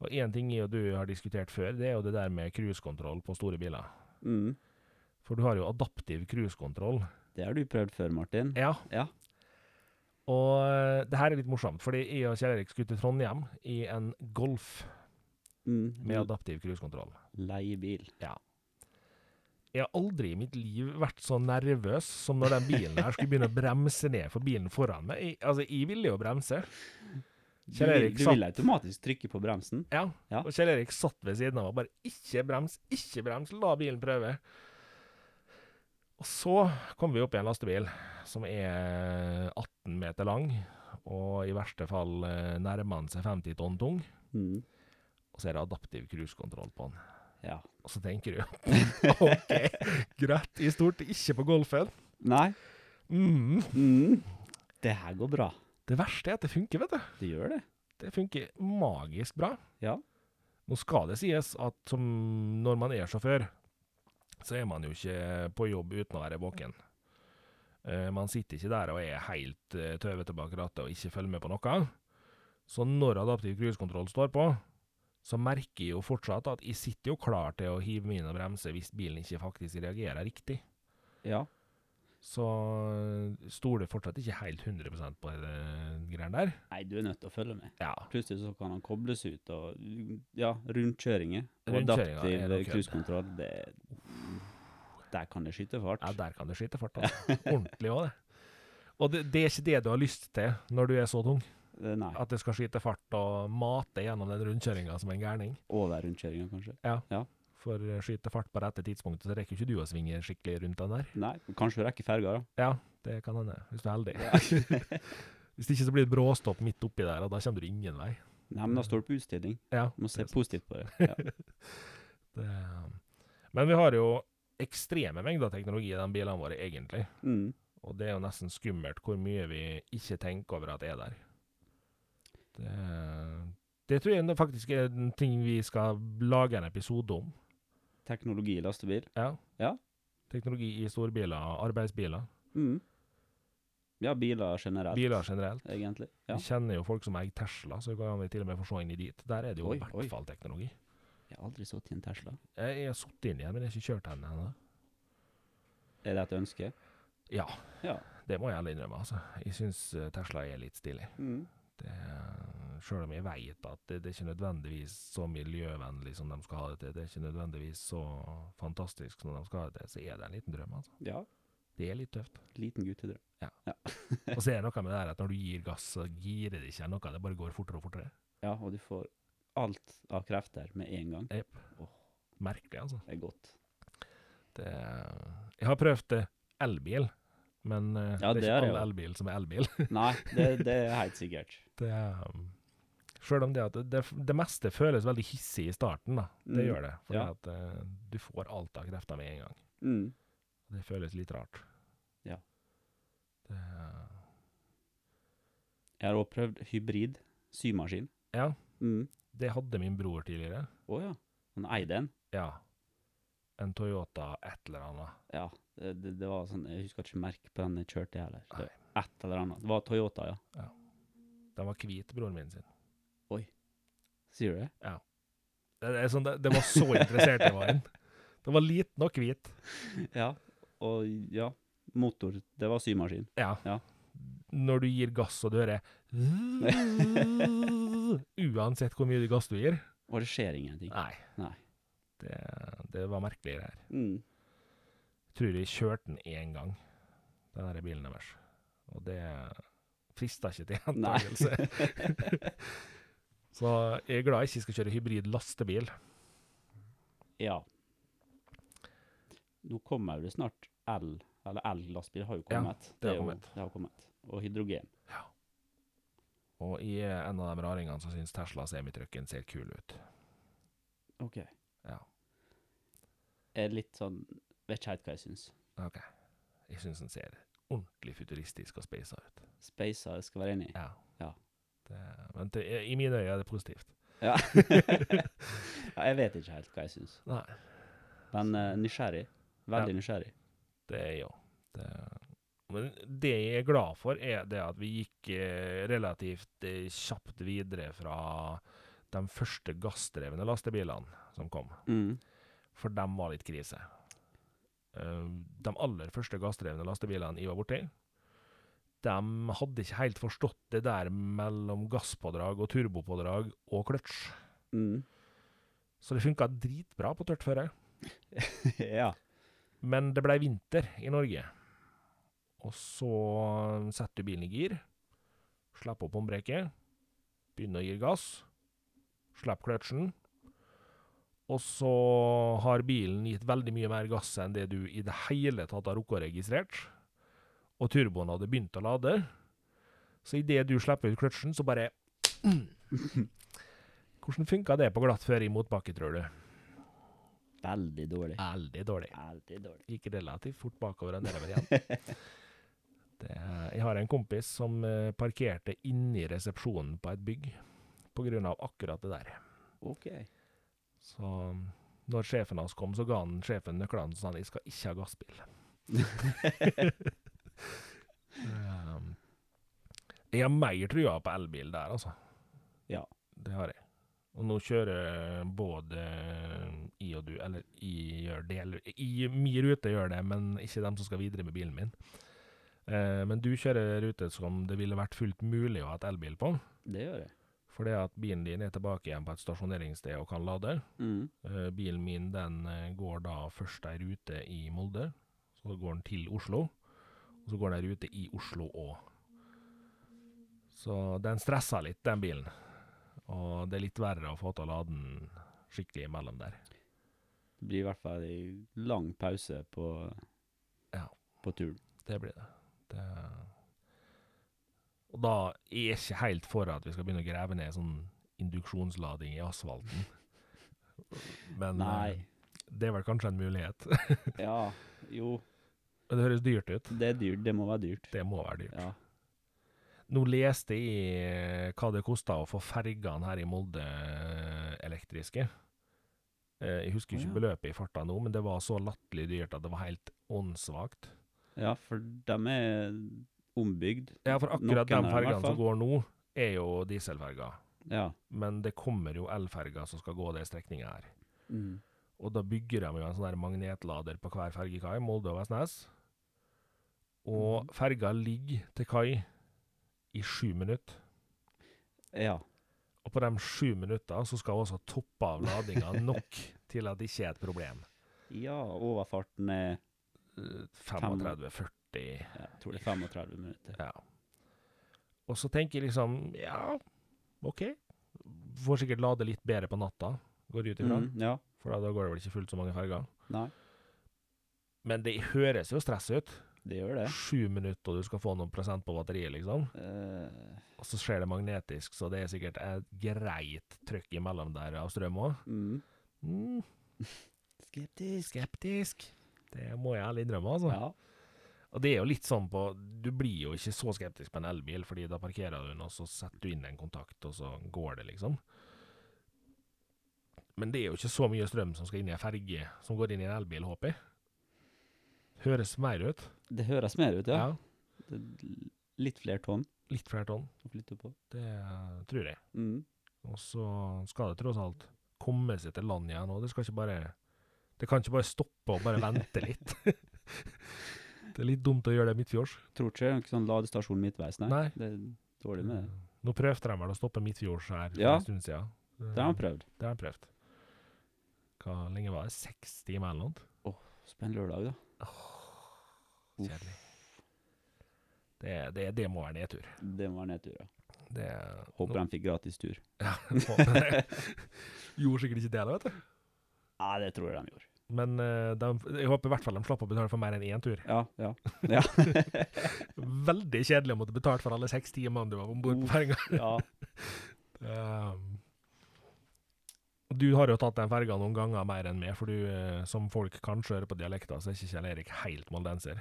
[SPEAKER 1] Og én ting jeg og du har diskutert før, det er jo det der med cruisekontroll på store biler.
[SPEAKER 2] Mm.
[SPEAKER 1] For du har jo adaptiv cruisekontroll.
[SPEAKER 2] Det har du prøvd før, Martin.
[SPEAKER 1] Ja.
[SPEAKER 2] Ja.
[SPEAKER 1] Og eh, det her er litt morsomt, fordi jeg og Kjell Erik skulle til Trondheim i en Golf med
[SPEAKER 2] Mm.
[SPEAKER 1] adaptiv cruisekontroll.
[SPEAKER 2] Leiebil.
[SPEAKER 1] Jeg har aldri i mitt liv vært så nervøs som når den bilen her skulle begynne å bremse ned for bilen foran meg. Jeg, altså, jeg ville jo bremse,
[SPEAKER 2] Du
[SPEAKER 1] Kjell
[SPEAKER 2] vil,
[SPEAKER 1] Erik
[SPEAKER 2] du
[SPEAKER 1] satt-
[SPEAKER 2] vil automatisk trykke på bremsen.
[SPEAKER 1] ja.
[SPEAKER 2] Ja.
[SPEAKER 1] Og Kjell Erik satt ved siden av og bare 'ikke brems, ikke brems, la bilen prøve'. Og så kom vi opp i en lastebil som er 18 meter lang, og i verste fall eh, nærmer den seg 50 tonn tung.
[SPEAKER 2] Mm.
[SPEAKER 1] og så er det adaptiv cruisekontroll på den.
[SPEAKER 2] Ja.
[SPEAKER 1] Og så tenker du OK, greit, i stort, ikke på golfen.
[SPEAKER 2] Nei.
[SPEAKER 1] Mm.
[SPEAKER 2] Mm. Det her går bra.
[SPEAKER 1] Det verste er at det funker, vet du.
[SPEAKER 2] Det gjør det.
[SPEAKER 1] Det funker magisk bra.
[SPEAKER 2] Ja.
[SPEAKER 1] Nå skal det sies at som når man er sjåfør, så er man jo ikke på jobb uten å være våken. Eh, Man sitter ikke der og er helt eh, tøvete bak rattet og ikke følger med på noe. Så når adaptiv cruisekontroll står på, så merker jeg jo fortsatt at jeg sitter jo klar til å hive meg inn og bremse hvis bilen ikke faktisk reagerer riktig.
[SPEAKER 2] Ja.
[SPEAKER 1] Så eh, stoler fortsatt ikke helt 100 på det greiene der.
[SPEAKER 2] Nei, du er nødt til å følge med.
[SPEAKER 1] Ja,
[SPEAKER 2] Plutselig så kan han kobles ut, og ja, rundkjøringer. Og
[SPEAKER 1] Rundkjøringer er
[SPEAKER 2] adaptiv
[SPEAKER 1] noe kødd.
[SPEAKER 2] cruisekontroll, det Der kan det skyte fart.
[SPEAKER 1] Ja, der kan det skyte fart. Altså. Ordentlig òg, det. Og det, det er ikke det du har lyst til når du er så tung,
[SPEAKER 2] Eh, Nei.
[SPEAKER 1] at det skal skyte fart og mate gjennom den rundkjøringa som en gærning.
[SPEAKER 2] Over rundkjøringa, kanskje.
[SPEAKER 1] For eh, skyter fart på rette tidspunktet, så rekker ikke du å svinge skikkelig rundt den der.
[SPEAKER 2] Nei, kanskje du rekker ferga, da.
[SPEAKER 1] Ja, det kan hende, hvis du er heldig. hvis ikke så blir det bråstopp midt oppi der, og da kommer du ingen vei.
[SPEAKER 2] Nei, men da står det på utstilling.
[SPEAKER 1] Ja,
[SPEAKER 2] Du må se
[SPEAKER 1] det er sant.
[SPEAKER 2] positivt på det. Ja.
[SPEAKER 1] Det, eh, men vi har jo ekstreme mengder teknologi i de bilene våre, egentlig.
[SPEAKER 2] Mm.
[SPEAKER 1] Og det er jo nesten skummelt hvor mye vi ikke tenker over at er der. Det, det tror jeg nå faktisk er en ting vi skal lage en episode om.
[SPEAKER 2] Teknologi i lastebil.
[SPEAKER 1] Ja.
[SPEAKER 2] Ja.
[SPEAKER 1] Teknologi i storbiler, arbeidsbiler,
[SPEAKER 2] Mm. Ja, biler generelt.
[SPEAKER 1] biler generelt.
[SPEAKER 2] Egentlig. Ja.
[SPEAKER 1] Vi kjenner jo folk som eier Tesla, så kan vi til og med få se inn i dit. Der er det jo
[SPEAKER 2] Oi,
[SPEAKER 1] i hvert
[SPEAKER 2] oi.
[SPEAKER 1] fall teknologi.
[SPEAKER 2] Jeg har aldri sittet i en Tesla.
[SPEAKER 1] Jeg jeg har sittet inn i den, men jeg har ikke kjørt den ennå.
[SPEAKER 2] Er det et ønske?
[SPEAKER 1] Ja,
[SPEAKER 2] Ja.
[SPEAKER 1] det må jeg ærlig innrømme, altså. Jeg syns Tesla er litt stilig.
[SPEAKER 2] Mm.
[SPEAKER 1] Det, Eh, selv om jeg vet at det, det er ikke nødvendigvis så miljøvennlig som de skal ha det til, det er ikke nødvendigvis så fantastisk som de skal ha det til, så er det en liten drøm, altså.
[SPEAKER 2] Ja.
[SPEAKER 1] Det er litt tøft.
[SPEAKER 2] Liten guttedrøm.
[SPEAKER 1] Og så er det noe med det her at når du gir gass, så girer det ikke eller noe, det bare går fortere og fortere.
[SPEAKER 2] Ja, og du får alt av krefter med en gang.
[SPEAKER 1] Jep. Merkelig, altså.
[SPEAKER 2] Det er godt.
[SPEAKER 1] Det, jeg har prøvd eh, elbil, men eh,
[SPEAKER 2] Ja,
[SPEAKER 1] det
[SPEAKER 2] det
[SPEAKER 1] er
[SPEAKER 2] er
[SPEAKER 1] ikke
[SPEAKER 2] det
[SPEAKER 1] all
[SPEAKER 2] jo.
[SPEAKER 1] elbil som er elbil.
[SPEAKER 2] Nei, det, det er helt sikkert.
[SPEAKER 1] Det er, um, selv om det at det, det meste føles veldig hissig i starten, da. Det
[SPEAKER 2] Mm,
[SPEAKER 1] gjør det. For
[SPEAKER 2] ja.
[SPEAKER 1] at eh, du får alt av krefter med en gang.
[SPEAKER 2] Mm.
[SPEAKER 1] Det føles litt rart.
[SPEAKER 2] Ja.
[SPEAKER 1] Det, er-
[SPEAKER 2] Jeg har også prøvd hybrid symaskin.
[SPEAKER 1] ja,
[SPEAKER 2] Mm.
[SPEAKER 1] det hadde min bror tidligere.
[SPEAKER 2] Å ja. Han eide en.
[SPEAKER 1] Ja. En Toyota et eller annet.
[SPEAKER 2] Ja. Det, det, det var sånn, Jeg husker ikke merket på den jeg kjørte, jeg heller.
[SPEAKER 1] Nei.
[SPEAKER 2] Det var Et eller annet. Det var Toyota, ja.
[SPEAKER 1] Den var hvit, broren min sin.
[SPEAKER 2] Sier du det?
[SPEAKER 1] Det, det, er sånn, det, det var så interessert jeg var i den. Den var liten og hvit.
[SPEAKER 2] Ja. Og ja, motor. Det var symaskin.
[SPEAKER 1] Ja.
[SPEAKER 2] Ja.
[SPEAKER 1] Når du gir gass og du hører Uansett hvor mye gass du gir.
[SPEAKER 2] Og det skjer ingenting.
[SPEAKER 1] Nei.
[SPEAKER 2] Nei.
[SPEAKER 1] Det, det var merkelig det her.
[SPEAKER 2] Mm.
[SPEAKER 1] Tror jeg kjørte den én gang, den her bilen deres. Og det frista ikke til
[SPEAKER 2] Nei.
[SPEAKER 1] gjentakelse. Så jeg er glad jeg ikke skal kjøre hybrid lastebil.
[SPEAKER 2] ja. Nå kommer jo det snart el, eller el-lastebil har jo
[SPEAKER 1] Ja,
[SPEAKER 2] kommet.
[SPEAKER 1] det har
[SPEAKER 2] er jo-
[SPEAKER 1] kommet.
[SPEAKER 2] Det har kommet. Og hydrogen.
[SPEAKER 1] Og jeg er en av de raringene som syns Tesla semitrucken ser kul ut.
[SPEAKER 2] Ok.
[SPEAKER 1] Ja.
[SPEAKER 2] Er litt sånn Vet ikke helt hva jeg syns.
[SPEAKER 1] Jeg syns den ser ordentlig futuristisk og speisa ut.
[SPEAKER 2] Spacer jeg skal være enig i.
[SPEAKER 1] Ja.
[SPEAKER 2] Ja.
[SPEAKER 1] Det, men det, i mine øyne er det positivt.
[SPEAKER 2] Ja. ja, jeg vet ikke helt hva jeg syns.
[SPEAKER 1] Nei.
[SPEAKER 2] Men eh, nysgjerrig. Veldig nysgjerrig.
[SPEAKER 1] Det er jeg òg. Det- Men det jeg er glad for, er det at vi gikk eh, relativt eh, kjapt videre fra de første gassdrevne lastebilene som kom,
[SPEAKER 2] Mm.
[SPEAKER 1] for dem var litt krise. Eh, De aller første gassdrevne lastebilene jeg var borti, de hadde ikke helt forstått det der mellom gasspådrag og turbopådrag og kløtsj.
[SPEAKER 2] Mm.
[SPEAKER 1] Så det funka dritbra på tørt føre.
[SPEAKER 2] ja.
[SPEAKER 1] Men det ble vinter i Norge. Og så setter du bilen i gir, slipper opp håndbrekket, begynner å gi gass, slipper kløtsjen. Og så har bilen gitt veldig mye mer gass enn det du i det hele tatt har rukket å registrert. Og turboen hadde begynt å lade. Så idet du slipper ut kløtsjen, så bare Hvordan funka det på glatt føre i motbakke, tror du?
[SPEAKER 2] Veldig dårlig.
[SPEAKER 1] Veldig dårlig
[SPEAKER 2] Veldig dårlig.
[SPEAKER 1] gikk relativt fort bakover og nedover igjen. Det, jeg har en kompis som eh, parkerte inni resepsjonen på et bygg pga. akkurat det der.
[SPEAKER 2] OK.
[SPEAKER 1] Så um, når sjefen hans kom, så ga han sjefen nøklene og sa han, jeg skal ikke ha gassbil. Um, jeg har mer trua på elbil der, altså.
[SPEAKER 2] Ja.
[SPEAKER 1] Det har jeg. Og nå kjører både um, i og du, eller i gjør det, eller i min rute gjør det, men ikke dem som skal videre med bilen min. Eh, men du kjører rute som det ville vært fullt mulig å ha et elbil på,
[SPEAKER 2] Det gjør jeg.
[SPEAKER 1] fordi at bilen din er tilbake igjen på et stasjoneringssted og kan lade.
[SPEAKER 2] Mm.
[SPEAKER 1] Eh, Bilen min den eh, går da først ei rute i Molde, så går den til Oslo, og så går den ei rute i Oslo òg. Så den stressa litt, den bilen. Og det er litt verre å få til å lade den skikkelig imellom der.
[SPEAKER 2] Det blir i hvert fall en lang pause på,
[SPEAKER 1] Ja.
[SPEAKER 2] på turen.
[SPEAKER 1] Det blir det. det og da er jeg ikke helt for at vi skal begynne å grave ned sånn induksjonslading i asfalten. Men eh,
[SPEAKER 2] Nei.
[SPEAKER 1] det er vel kanskje en mulighet.
[SPEAKER 2] Ja, jo.
[SPEAKER 1] Men det høres dyrt ut.
[SPEAKER 2] Det er dyrt. Det må være dyrt.
[SPEAKER 1] Det må være dyrt.
[SPEAKER 2] Ja.
[SPEAKER 1] Nå leste jeg eh, hva det kosta å få fergene her i Molde eh, elektriske. Eh, Jeg husker
[SPEAKER 2] Å,
[SPEAKER 1] ikke
[SPEAKER 2] ja.
[SPEAKER 1] beløpet i farta nå, men det var så latterlig dyrt at det var helt åndssvakt.
[SPEAKER 2] ja, for de er ombygd.
[SPEAKER 1] Ja, for akkurat
[SPEAKER 2] Noen av
[SPEAKER 1] de
[SPEAKER 2] dem, i
[SPEAKER 1] fergene
[SPEAKER 2] hvert
[SPEAKER 1] som
[SPEAKER 2] fall.
[SPEAKER 1] går nå, er jo dieselferger.
[SPEAKER 2] Ja.
[SPEAKER 1] Men det kommer jo elferger som skal gå den strekninga her.
[SPEAKER 2] Mm.
[SPEAKER 1] Og da bygger de jo en sånn her magnetlader på hver fergekai, Molde og Vestnes. Og ferga ligger til kai i sju minutter.
[SPEAKER 2] Ja.
[SPEAKER 1] Og på de sju minutter så skal hun også toppe av ladinga nok til at det ikke er et problem.
[SPEAKER 2] ja, overfarten er
[SPEAKER 1] Eh, 35-40
[SPEAKER 2] ja, jeg tror det er 35 minutter.
[SPEAKER 1] ja. Og så tenker jeg liksom Ja, OK. Får sikkert lade litt bedre på natta, går jeg ut ifra.
[SPEAKER 2] Mm, ja.
[SPEAKER 1] For da går det vel ikke fullt så mange ferger.
[SPEAKER 2] Nei,
[SPEAKER 1] Men det høres jo stress ut.
[SPEAKER 2] det gjør det.
[SPEAKER 1] Sju minutter, og du skal få noen prosent på batteriet, liksom.
[SPEAKER 2] Eh,
[SPEAKER 1] Og så skjer det magnetisk, så det er sikkert et greit trykk imellom der av strøm òg.
[SPEAKER 2] mm.
[SPEAKER 1] Mm,
[SPEAKER 2] Skeptisk.
[SPEAKER 1] skeptisk. Det må jeg ærlig innrømme, altså.
[SPEAKER 2] Ja.
[SPEAKER 1] Og det er jo litt sånn på Du blir jo ikke så skeptisk på en elbil, fordi da parkerer du den, og så setter du inn en kontakt, og så går det, liksom. Men det er jo ikke så mye strøm som skal inn i en ferge, som går inn i en elbil, håper jeg. Høres mer ut.
[SPEAKER 2] Det høres mer ut, ja. Det er litt flere tonn
[SPEAKER 1] Litt flere tonn.
[SPEAKER 2] å flytte på.
[SPEAKER 1] Det tror jeg.
[SPEAKER 2] Mm.
[SPEAKER 1] Og så skal det tross alt komme seg til land igjen òg. Det skal ikke bare Det kan ikke bare stoppe og bare vente litt. det er litt dumt å gjøre det midtfjords.
[SPEAKER 2] Tror ikke det er noen sånn ladestasjon midtveis, nei.
[SPEAKER 1] Nei.
[SPEAKER 2] Det er dårlig med det.
[SPEAKER 1] Nå prøvde de vel å stoppe midtfjords her for
[SPEAKER 2] Ja.
[SPEAKER 1] en stund siden. Eh,
[SPEAKER 2] Det har han prøvd.
[SPEAKER 1] Det har de prøvd. Hva lenge var det? Seks timer eller noe?
[SPEAKER 2] Spenn lørdag, da. Uff.
[SPEAKER 1] Kjedelig. Det, det, det må være nedtur.
[SPEAKER 2] Det må være nedtur, ja.
[SPEAKER 1] Det,
[SPEAKER 2] Håper de fikk gratis tur.
[SPEAKER 1] Gjorde sikkert ikke det, da, vet du.
[SPEAKER 2] Nei, det tror jeg de gjorde.
[SPEAKER 1] Men eh, de, jeg håper i hvert fall de slapp å betale for mer enn én tur.
[SPEAKER 2] Ja, ja.
[SPEAKER 1] Veldig kjedelig å måtte betale for alle seks timene du var om bord på
[SPEAKER 2] Uff.
[SPEAKER 1] ferga.
[SPEAKER 2] ja.
[SPEAKER 1] Um, du har jo tatt den ferga noen ganger mer enn meg, for du, eh, som folk kanskje hører på dialekta, så er ikke Kjell Erik helt moldenser.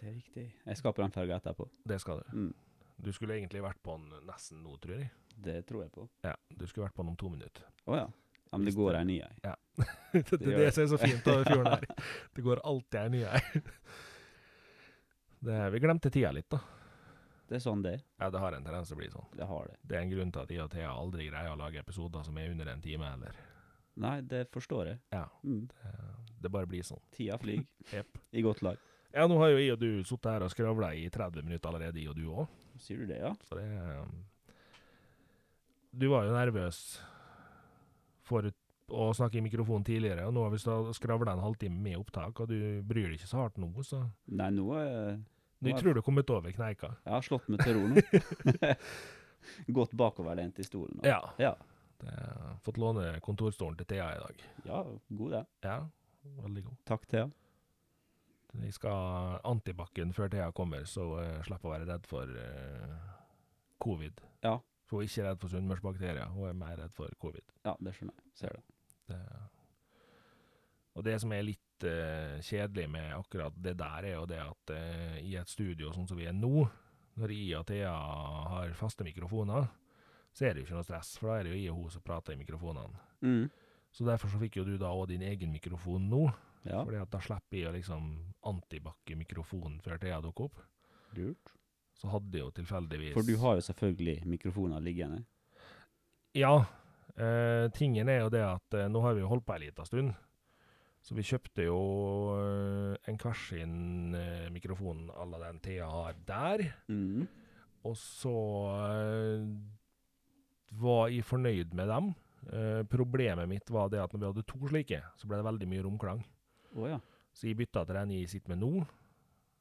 [SPEAKER 2] Det er riktig. Jeg skal på den ferga etterpå.
[SPEAKER 1] Det skal du.
[SPEAKER 2] Mm.
[SPEAKER 1] Du skulle egentlig vært på den nesten nå, tror jeg.
[SPEAKER 2] Det tror jeg på.
[SPEAKER 1] Ja, du skulle vært på den om to minutter.
[SPEAKER 2] Å ja. ja. Men det går ei ny ei.
[SPEAKER 1] det det er
[SPEAKER 2] gjør
[SPEAKER 1] det som er så fint over fjorden her. Det går alltid ei ny ei. Det- Vi glemte tida litt, da.
[SPEAKER 2] Det er sånn det er.
[SPEAKER 1] Ja, det har en tendens til å bli sånn.
[SPEAKER 2] Det har det.
[SPEAKER 1] Det er en grunn til at jeg og Thea aldri greier å lage episoder som er under en time, eller
[SPEAKER 2] Nei, det forstår jeg.
[SPEAKER 1] Ja.
[SPEAKER 2] Mm.
[SPEAKER 1] Det bare blir sånn.
[SPEAKER 2] Tida flyr.
[SPEAKER 1] Jep.
[SPEAKER 2] I godt lag.
[SPEAKER 1] Ja, nå har jo jeg og du sittet her og skravla i 30 minutter allerede, jeg og du òg.
[SPEAKER 2] Sier du det, ja?
[SPEAKER 1] Så det um, Du var jo nervøs for ut- å snakke i mikrofonen tidligere, og nå har vi sta- skravla en halvtime med opptak, og du bryr deg ikke så hardt nå, så
[SPEAKER 2] Nei, nå er jeg
[SPEAKER 1] Du
[SPEAKER 2] Nå er-
[SPEAKER 1] tror du har kommet over kneika.
[SPEAKER 2] Jeg har slått meg til ro nå. Gått bakoverlent i stolen. nå.
[SPEAKER 1] Ja.
[SPEAKER 2] Ja.
[SPEAKER 1] Det, fått låne kontorstolen til Thea i dag.
[SPEAKER 2] ja, god det.
[SPEAKER 1] Ja, veldig god.
[SPEAKER 2] Takk, Thea.
[SPEAKER 1] Vi skal antibac-en før Thea kommer, så uh, slipper å være redd for eh, covid.
[SPEAKER 2] Ja.
[SPEAKER 1] For hun er ikke redd for sunnmørsbakterier, hun er mer redd for covid.
[SPEAKER 2] Ja, det skjønner jeg. Ser det.
[SPEAKER 1] Det, og det som er litt eh, kjedelig med akkurat det der, er jo det at eh, i et studio sånn som vi er nå, når jeg og Thea har faste mikrofoner, så er det jo ikke noe stress, for da er det jo jeg og hun som prater i mikrofonene.
[SPEAKER 2] Mm.
[SPEAKER 1] Så derfor så fikk jo du da òg din egen mikrofon nå,
[SPEAKER 2] Ja,
[SPEAKER 1] fordi at da slipper jeg å liksom antibac mikrofonen før Thea dukker opp.
[SPEAKER 2] lurt.
[SPEAKER 1] Så hadde jeg jo tilfeldigvis
[SPEAKER 2] For du har jo selvfølgelig mikrofoner liggende.
[SPEAKER 1] Ja. eh, tingen er jo det at eh, nå har vi jo holdt på ei lita stund. Så vi kjøpte jo eh, en hver sin eh, mikrofon à la den Thea har der.
[SPEAKER 2] Mm.
[SPEAKER 1] Og så eh, var jeg fornøyd med dem. Eh, problemet mitt var det at når vi hadde to slike, så ble det veldig mye romklang.
[SPEAKER 2] Å ja.
[SPEAKER 1] Så jeg bytta til den jeg sitter med nå.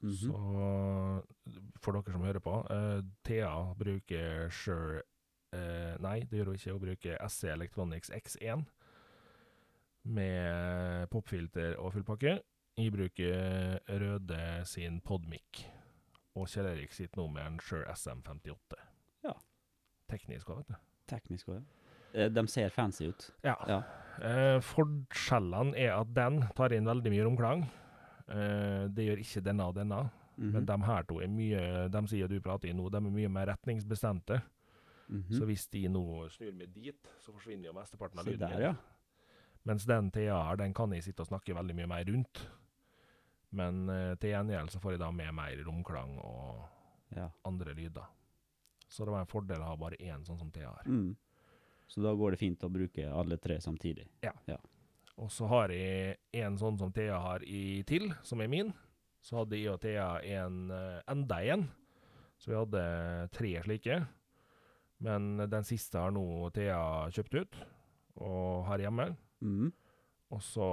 [SPEAKER 2] Mhm.
[SPEAKER 1] Så for dere som hører på, eh, Thea bruker Sure eh, Nei, det gjør hun ikke. Hun bruker SC Electronics X1 med popfilter og fullpakke. Jeg bruker Røde sin Podmic, og Kjell Erik sitt nummer er en Sure SM58.
[SPEAKER 2] Ja.
[SPEAKER 1] Teknisk òg, vet du.
[SPEAKER 2] Teknisk òg, ja. Eh, De ser fancy ut.
[SPEAKER 1] Ja.
[SPEAKER 2] Ja.
[SPEAKER 1] Eh, forskjellene er at den tar inn veldig mye romklang. Eh, det gjør ikke denne og denne. Men
[SPEAKER 2] Mhm.
[SPEAKER 1] de her to er mye De sier du prater i nå, de er mye mer retningsbestemte.
[SPEAKER 2] Mhm.
[SPEAKER 1] Så hvis de nå snur meg dit, så forsvinner jo mesteparten av
[SPEAKER 2] Se
[SPEAKER 1] lyden.
[SPEAKER 2] der,
[SPEAKER 1] min.
[SPEAKER 2] ja.
[SPEAKER 1] Mens den TA her, den kan jeg sitte og snakke veldig mye mer rundt. Men eh, til gjengjeld så får jeg da med mer romklang og
[SPEAKER 2] ja.
[SPEAKER 1] andre lyder. Så det var en fordel å ha bare én sånn som TA her.
[SPEAKER 2] Mm. Så da går det fint å bruke alle tre samtidig.
[SPEAKER 1] Og så har jeg en sånn som Thea har i til, som er min. Så hadde jeg og Thea en eh, enda en. Så vi hadde tre slike. Men den siste har nå Thea kjøpt ut, og har hjemme.
[SPEAKER 2] Mm.
[SPEAKER 1] Og så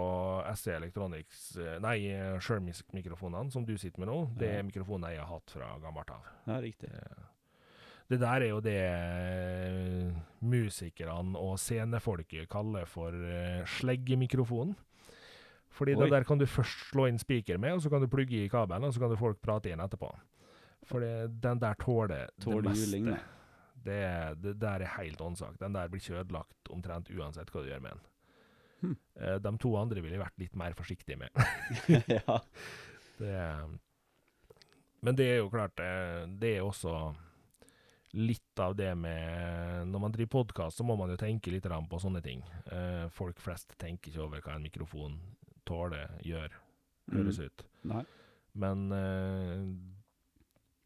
[SPEAKER 1] SE Electronics eh, Nei, Shermisk-mikrofonene som du sitter med nå, det
[SPEAKER 2] Ja.
[SPEAKER 1] er mikrofoner jeg har hatt fra gammelt av.
[SPEAKER 2] Ja, riktig.
[SPEAKER 1] Eh, Det der er jo det eh, musikerne og scenefolket kaller for eh, sleggemikrofonen. Fordi
[SPEAKER 2] Oi.
[SPEAKER 1] det der kan du først slå inn spiker med, og så kan du plugge i kabelen, og så kan du folk prate igjen etterpå. For det, den der tåler,
[SPEAKER 2] Tåler
[SPEAKER 1] det meste.
[SPEAKER 2] juling, da.
[SPEAKER 1] Det, det der er helt åndssvakt. Den der blir ikke ødelagt omtrent uansett hva du gjør med den.
[SPEAKER 2] Hmm.
[SPEAKER 1] Eh, De to andre ville jeg vært litt mer forsiktig med.
[SPEAKER 2] ja.
[SPEAKER 1] Det, eh, men det er jo klart, eh, det er også litt av det med Når man driver podkast, så må man jo tenke litt grann på sånne ting. Eh, Folk flest tenker ikke over hva en mikrofon tåler, gjør, høres
[SPEAKER 2] Mm.
[SPEAKER 1] ut.
[SPEAKER 2] Nei.
[SPEAKER 1] Men eh,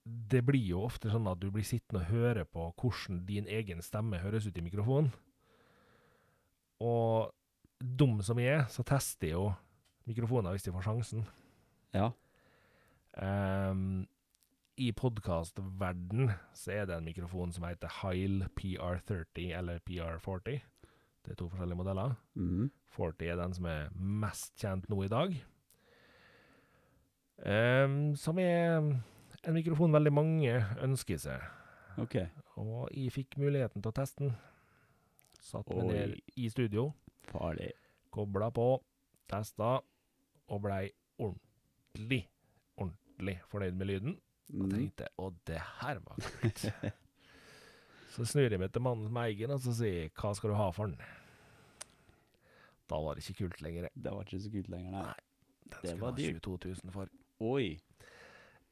[SPEAKER 1] det blir jo ofte sånn at du blir sittende og høre på hvordan din egen stemme høres ut i mikrofonen. Og dum som jeg er, så tester jeg jo mikrofoner hvis de får sjansen.
[SPEAKER 2] Ja.
[SPEAKER 1] Ehm, I podkastverden så er det en mikrofon som heter Heil PR30 eller PR40. Det er to forskjellige modeller.
[SPEAKER 2] Mm.
[SPEAKER 1] 40 er den som er mest kjent nå i dag. Ehm, som er en mikrofon veldig mange ønsker seg.
[SPEAKER 2] OK.
[SPEAKER 1] Og jeg fikk muligheten til å teste den. Satt meg
[SPEAKER 2] Oi.
[SPEAKER 1] ned i studio,
[SPEAKER 2] Farlig.
[SPEAKER 1] kobla på, testa, og blei ordentlig, ordentlig fornøyd med lyden. Og
[SPEAKER 2] Mm.
[SPEAKER 1] tenkte å, det her var kult. så snur jeg meg til mannen som eier den, og så sier jeg hva skal du ha for den? Da var det ikke kult lenger.
[SPEAKER 2] Det var ikke så kult lenger, nei.
[SPEAKER 1] Nei. Den
[SPEAKER 2] Det
[SPEAKER 1] skulle
[SPEAKER 2] var
[SPEAKER 1] ha
[SPEAKER 2] dyrt.
[SPEAKER 1] 22 000 for.
[SPEAKER 2] Oi.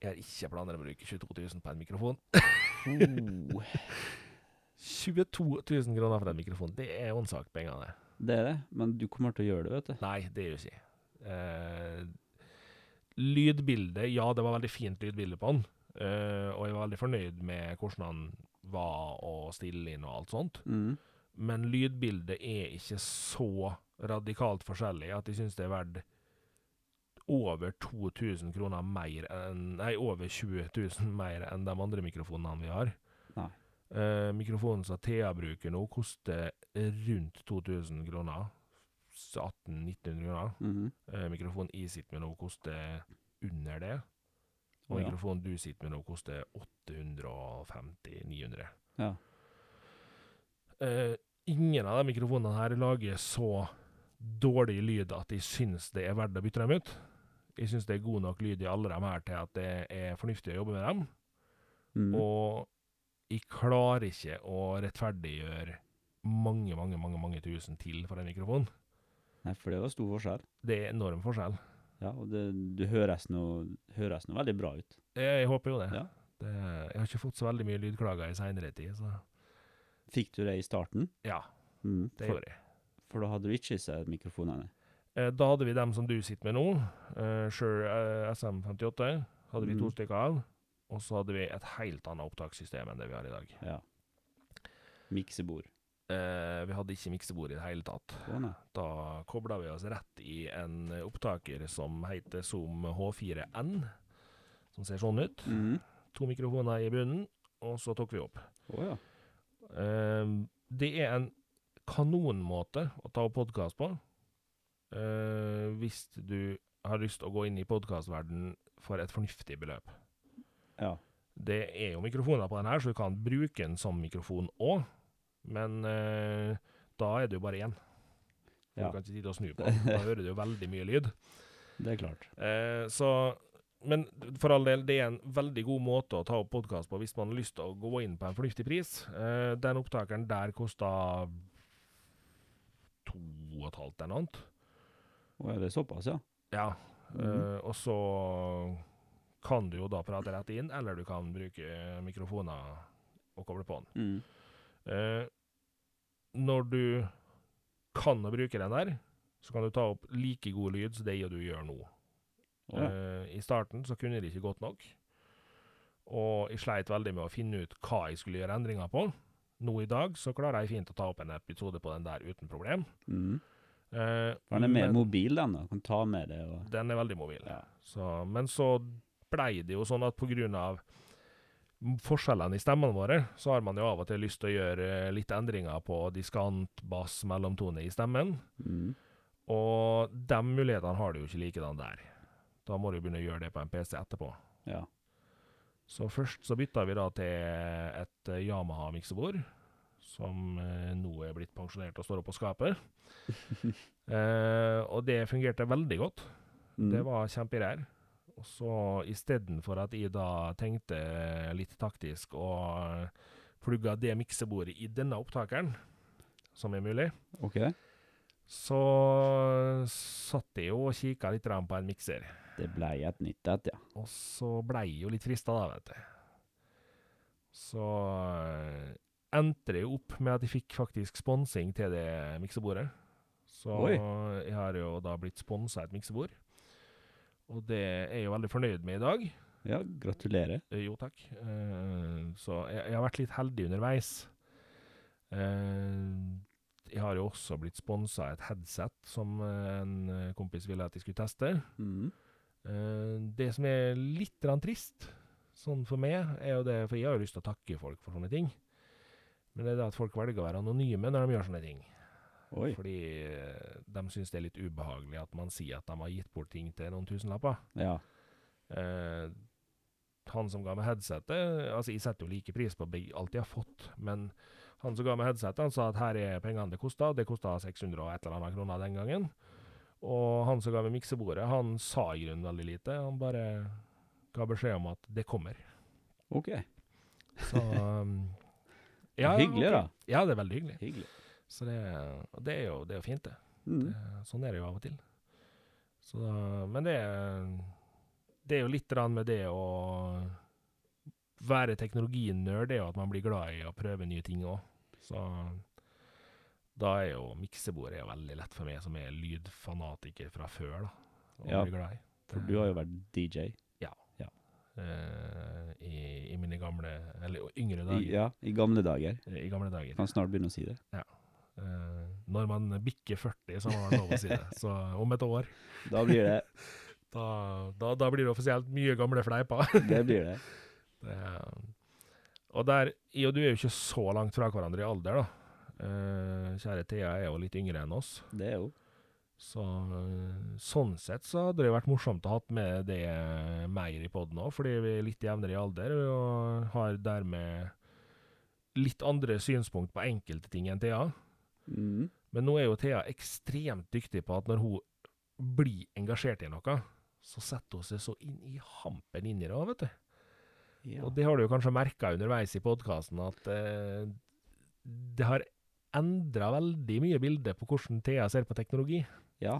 [SPEAKER 1] Jeg har ikke planer om å bruke 22 000 på en mikrofon.
[SPEAKER 2] Oh.
[SPEAKER 1] 22 000 kroner for en mikrofon, det er åndssvakt penger, det.
[SPEAKER 2] Det er det, men du kommer til å gjøre det, vet du.
[SPEAKER 1] Nei, det gjør jeg ikke. Eh, lydbildet, ja, det var veldig fint lydbilde på den. eh, og jeg var veldig fornøyd med hvordan han var og stille inn og alt sånt.
[SPEAKER 2] Mm.
[SPEAKER 1] men lydbildet er ikke så radikalt forskjellig at jeg synes det er verdt over 2000 kroner mer enn Nei, over 20 000 mer enn de andre mikrofonene vi har.
[SPEAKER 2] Nei.
[SPEAKER 1] Eh, mikrofonen som Thea bruker nå, koster rundt 2000 kroner. 1800-1900 kroner.
[SPEAKER 2] Mhm.
[SPEAKER 1] Eh, mikrofonen jeg sitter med nå, koster under det. Og
[SPEAKER 2] Å, ja.
[SPEAKER 1] mikrofonen du sitter med nå, koster 850-900.
[SPEAKER 2] Ja.
[SPEAKER 1] Eh, ingen av de mikrofonene her lager så dårlig lyd at jeg syns det er verdt å bytte dem ut. Jeg syns det er god nok lyd i alle dem her til at det er fornuftig å jobbe med dem.
[SPEAKER 2] Mm.
[SPEAKER 1] Og jeg klarer ikke å rettferdiggjøre mange, mange, mange mange tusen til for en mikrofon.
[SPEAKER 2] Nei, for det var stor forskjell.
[SPEAKER 1] Det er enorm forskjell.
[SPEAKER 2] Ja, og det, du høres nå, høres nå veldig bra ut.
[SPEAKER 1] Jeg, jeg håper jo det.
[SPEAKER 2] Ja.
[SPEAKER 1] det. Jeg har ikke fått så veldig mye lydklager i seinere tid, så
[SPEAKER 2] Fikk du det i starten?
[SPEAKER 1] ja,
[SPEAKER 2] Mm.
[SPEAKER 1] det
[SPEAKER 2] for,
[SPEAKER 1] gjorde jeg.
[SPEAKER 2] for da hadde du ikke sett mikrofonene.
[SPEAKER 1] Eh, Da hadde vi dem som du sitter med nå, eh, Shure eh, SM58, hadde vi to
[SPEAKER 2] Mhm.
[SPEAKER 1] stykker av. Og så hadde vi et helt annet opptakssystem enn det vi har i dag.
[SPEAKER 2] Ja. Miksebord.
[SPEAKER 1] Eh, vi hadde ikke miksebord i det hele tatt.
[SPEAKER 2] Å nei.
[SPEAKER 1] Da kobla vi oss rett i en opptaker som heter Zoom H4N, som ser sånn ut.
[SPEAKER 2] Mhm.
[SPEAKER 1] To mikrofoner i bunnen, og så tok vi opp.
[SPEAKER 2] Å ja.
[SPEAKER 1] Ehm, det er en kanonmåte å ta opp podkast på. eh, hvis du har lyst til å gå inn i podkastverdenen for et fornuftig beløp.
[SPEAKER 2] Ja.
[SPEAKER 1] Det er jo mikrofoner på den her, så du kan bruke den som mikrofon òg. Men eh, da er det jo bare én. For
[SPEAKER 2] Ja.
[SPEAKER 1] Du kan ikke sitte og snu på den. Da hører du jo veldig mye lyd.
[SPEAKER 2] Det er klart.
[SPEAKER 1] Eh, så Men for all del, det er en veldig god måte å ta opp podkast på hvis man har lyst til å gå inn på en fornuftig pris. Eh, den opptakeren der kosta alternant.
[SPEAKER 2] Og er det såpass, ja?
[SPEAKER 1] Ja.
[SPEAKER 2] Mhm.
[SPEAKER 1] eh, og så kan du jo da prate rett inn, eller du kan bruke mikrofoner og koble på den.
[SPEAKER 2] Mm.
[SPEAKER 1] Eh, når du kan å bruke den der, så kan du ta opp like god lyd som det du gjør nå.
[SPEAKER 2] Å, ja.
[SPEAKER 1] Eh, I starten så kunne jeg det ikke godt nok, og jeg sleit veldig med å finne ut hva jeg skulle gjøre endringer på. Nå i dag så klarer jeg fint å ta opp en episode på den der uten problem.
[SPEAKER 2] Mm.
[SPEAKER 1] Eh,
[SPEAKER 2] For Den er mer
[SPEAKER 1] men
[SPEAKER 2] mobil, den. da. Kan ta med det og
[SPEAKER 1] den er veldig mobil.
[SPEAKER 2] Ja.
[SPEAKER 1] Så, men så blei det jo sånn at på grunn av m- forskjellene i stemmene våre, så har man jo av og til lyst til å gjøre eh, litt endringer på diskant, bass, mellomtone i stemmen.
[SPEAKER 2] Mm.
[SPEAKER 1] Og de mulighetene har du jo ikke likedan der. Da må du begynne å gjøre det på en PC etterpå.
[SPEAKER 2] Ja.
[SPEAKER 1] Så først så bytta vi da til et eh, Yamaha-miksebord, som eh, nå er blitt pensjonert og står oppe og skaper. eh, og det fungerte veldig godt.
[SPEAKER 2] Mm.
[SPEAKER 1] Det var kjemperær. Og så istedenfor at jeg da tenkte litt taktisk og plugga det miksebordet i denne opptakeren, som er mulig,
[SPEAKER 2] OK.
[SPEAKER 1] så satt jeg jo og kikka litt grann på en mikser.
[SPEAKER 2] Det ble et nytt et, ja.
[SPEAKER 1] Og så blei jeg jo litt frista, da, vet du. Så eh, endte det jo opp med at jeg fikk faktisk sponsing til det miksebordet. Så
[SPEAKER 2] Oi.
[SPEAKER 1] jeg har jo da blitt sponsa et miksebord. Og det er jeg jo veldig fornøyd med i dag.
[SPEAKER 2] Ja, gratulerer.
[SPEAKER 1] Eh, Jo, takk. Eh, Så jeg, jeg har vært litt heldig underveis. Eh, Jeg har jo også blitt sponsa et headset som eh, en kompis ville at jeg skulle teste.
[SPEAKER 2] Mm.
[SPEAKER 1] Eh, Det som er litt grann trist, sånn for meg, er jo det For jeg har jo lyst til å takke folk for sånne ting. Men det er det at folk velger å være anonyme når de gjør sånne ting.
[SPEAKER 2] Oi.
[SPEAKER 1] Fordi eh, de syns det er litt ubehagelig at man sier at de har gitt bort ting til noen tusenlapper.
[SPEAKER 2] Ja.
[SPEAKER 1] Eh, han som ga meg headsetet Altså, jeg setter jo like pris på beg- alt jeg har fått, men han som ga meg headsetet, han sa at her er pengene det kosta. Det kosta 600 og et eller annet kroner den gangen. Og han som ga meg miksebordet, han sa i grunnen veldig lite. Han bare ga beskjed om at det kommer.
[SPEAKER 2] OK.
[SPEAKER 1] Så um,
[SPEAKER 2] Hyggelig,
[SPEAKER 1] ok.
[SPEAKER 2] da.
[SPEAKER 1] Ja, det er veldig hyggelig.
[SPEAKER 2] Hyggelig.
[SPEAKER 1] Så det, og det er jo det er jo fint, det.
[SPEAKER 2] Mm.
[SPEAKER 1] Det- Sånn er det jo av og til. Så da, men det er, det er jo litt grann med det å være teknologinerd, det er jo at man blir glad i å prøve nye ting òg. Så da er jo miksebordet er jo veldig lett for meg, som er lydfanatiker fra før, da. Å
[SPEAKER 2] Ja.
[SPEAKER 1] bli glad i.
[SPEAKER 2] For du har jo vært DJ.
[SPEAKER 1] Eh, i, I mine gamle, eller yngre
[SPEAKER 2] I,
[SPEAKER 1] dager.
[SPEAKER 2] ja, I gamle dager.
[SPEAKER 1] I gamle dager.
[SPEAKER 2] Kan snart begynne å si det.
[SPEAKER 1] Eh, når man bikker 40, så må man lov å si det. Så om et år
[SPEAKER 2] Da blir det.
[SPEAKER 1] Da, da, da blir det offisielt mye gamle fleiper.
[SPEAKER 2] Det blir det.
[SPEAKER 1] Det, og der, jeg og du er jo ikke så langt fra hverandre i alder, da. Eh, kjære Thea er jo litt yngre enn oss,
[SPEAKER 2] Det er jo
[SPEAKER 1] så eh, sånn sett så hadde det vært morsomt å ha med det mer i poden òg, fordi vi er litt jevnere i alder og har dermed litt andre synspunkt på enkelte ting enn Thea.
[SPEAKER 2] mm.
[SPEAKER 1] Men nå er jo Thea ekstremt dyktig på at når hun blir engasjert i noe, så setter hun seg så inn i hampen inni det òg, vet du.
[SPEAKER 2] ja.
[SPEAKER 1] Og det har du jo kanskje merka underveis i podkasten, at eh, det har endra veldig mye bildet på hvordan Thea ser på teknologi.
[SPEAKER 2] ja.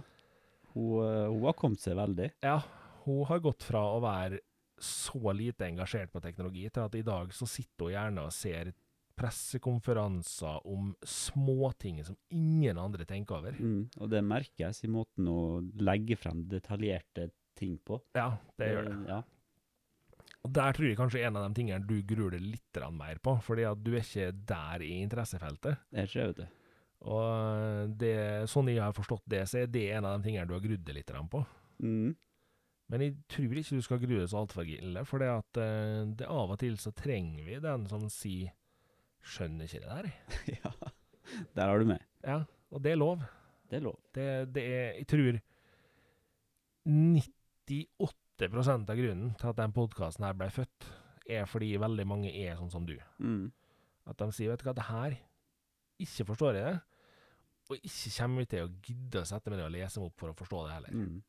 [SPEAKER 2] Hun, eh, hun har kommet seg veldig.
[SPEAKER 1] Ja, hun har gått fra å være så lite engasjert på teknologi, til at i dag så sitter hun gjerne og ser pressekonferanser om småting som ingen andre tenker over.
[SPEAKER 2] Mm. Og det merkes i måten å legge frem detaljerte ting på. Eh,
[SPEAKER 1] Ja, det gjør det.
[SPEAKER 2] Ja.
[SPEAKER 1] Og der tror jeg kanskje en av de tingene du gruer deg litt grann mer på, fordi at du er ikke der i interessefeltet.
[SPEAKER 2] Det er ikke det, vet du.
[SPEAKER 1] Og det, sånn jeg har forstått det, så er det en av de tingene du har grudd deg litt grann på.
[SPEAKER 2] Mm.
[SPEAKER 1] Men jeg tror ikke du skal grue deg så altfor ille, for det at eh, det av og til så trenger vi den som sier 'skjønner ikke det der'.
[SPEAKER 2] ja. Der har du meg.
[SPEAKER 1] Ja, og det er lov.
[SPEAKER 2] Det er lov.
[SPEAKER 1] Det, det er, jeg tror 98 av grunnen til at den podkasten her ble født, er fordi veldig mange er sånn som du.
[SPEAKER 2] Mm.
[SPEAKER 1] At de sier 'vet du hva, det her ikke forstår jeg det', og ikke kommer vi til å gidde å sette meg ned og lese meg opp for å forstå det heller.
[SPEAKER 2] Mm.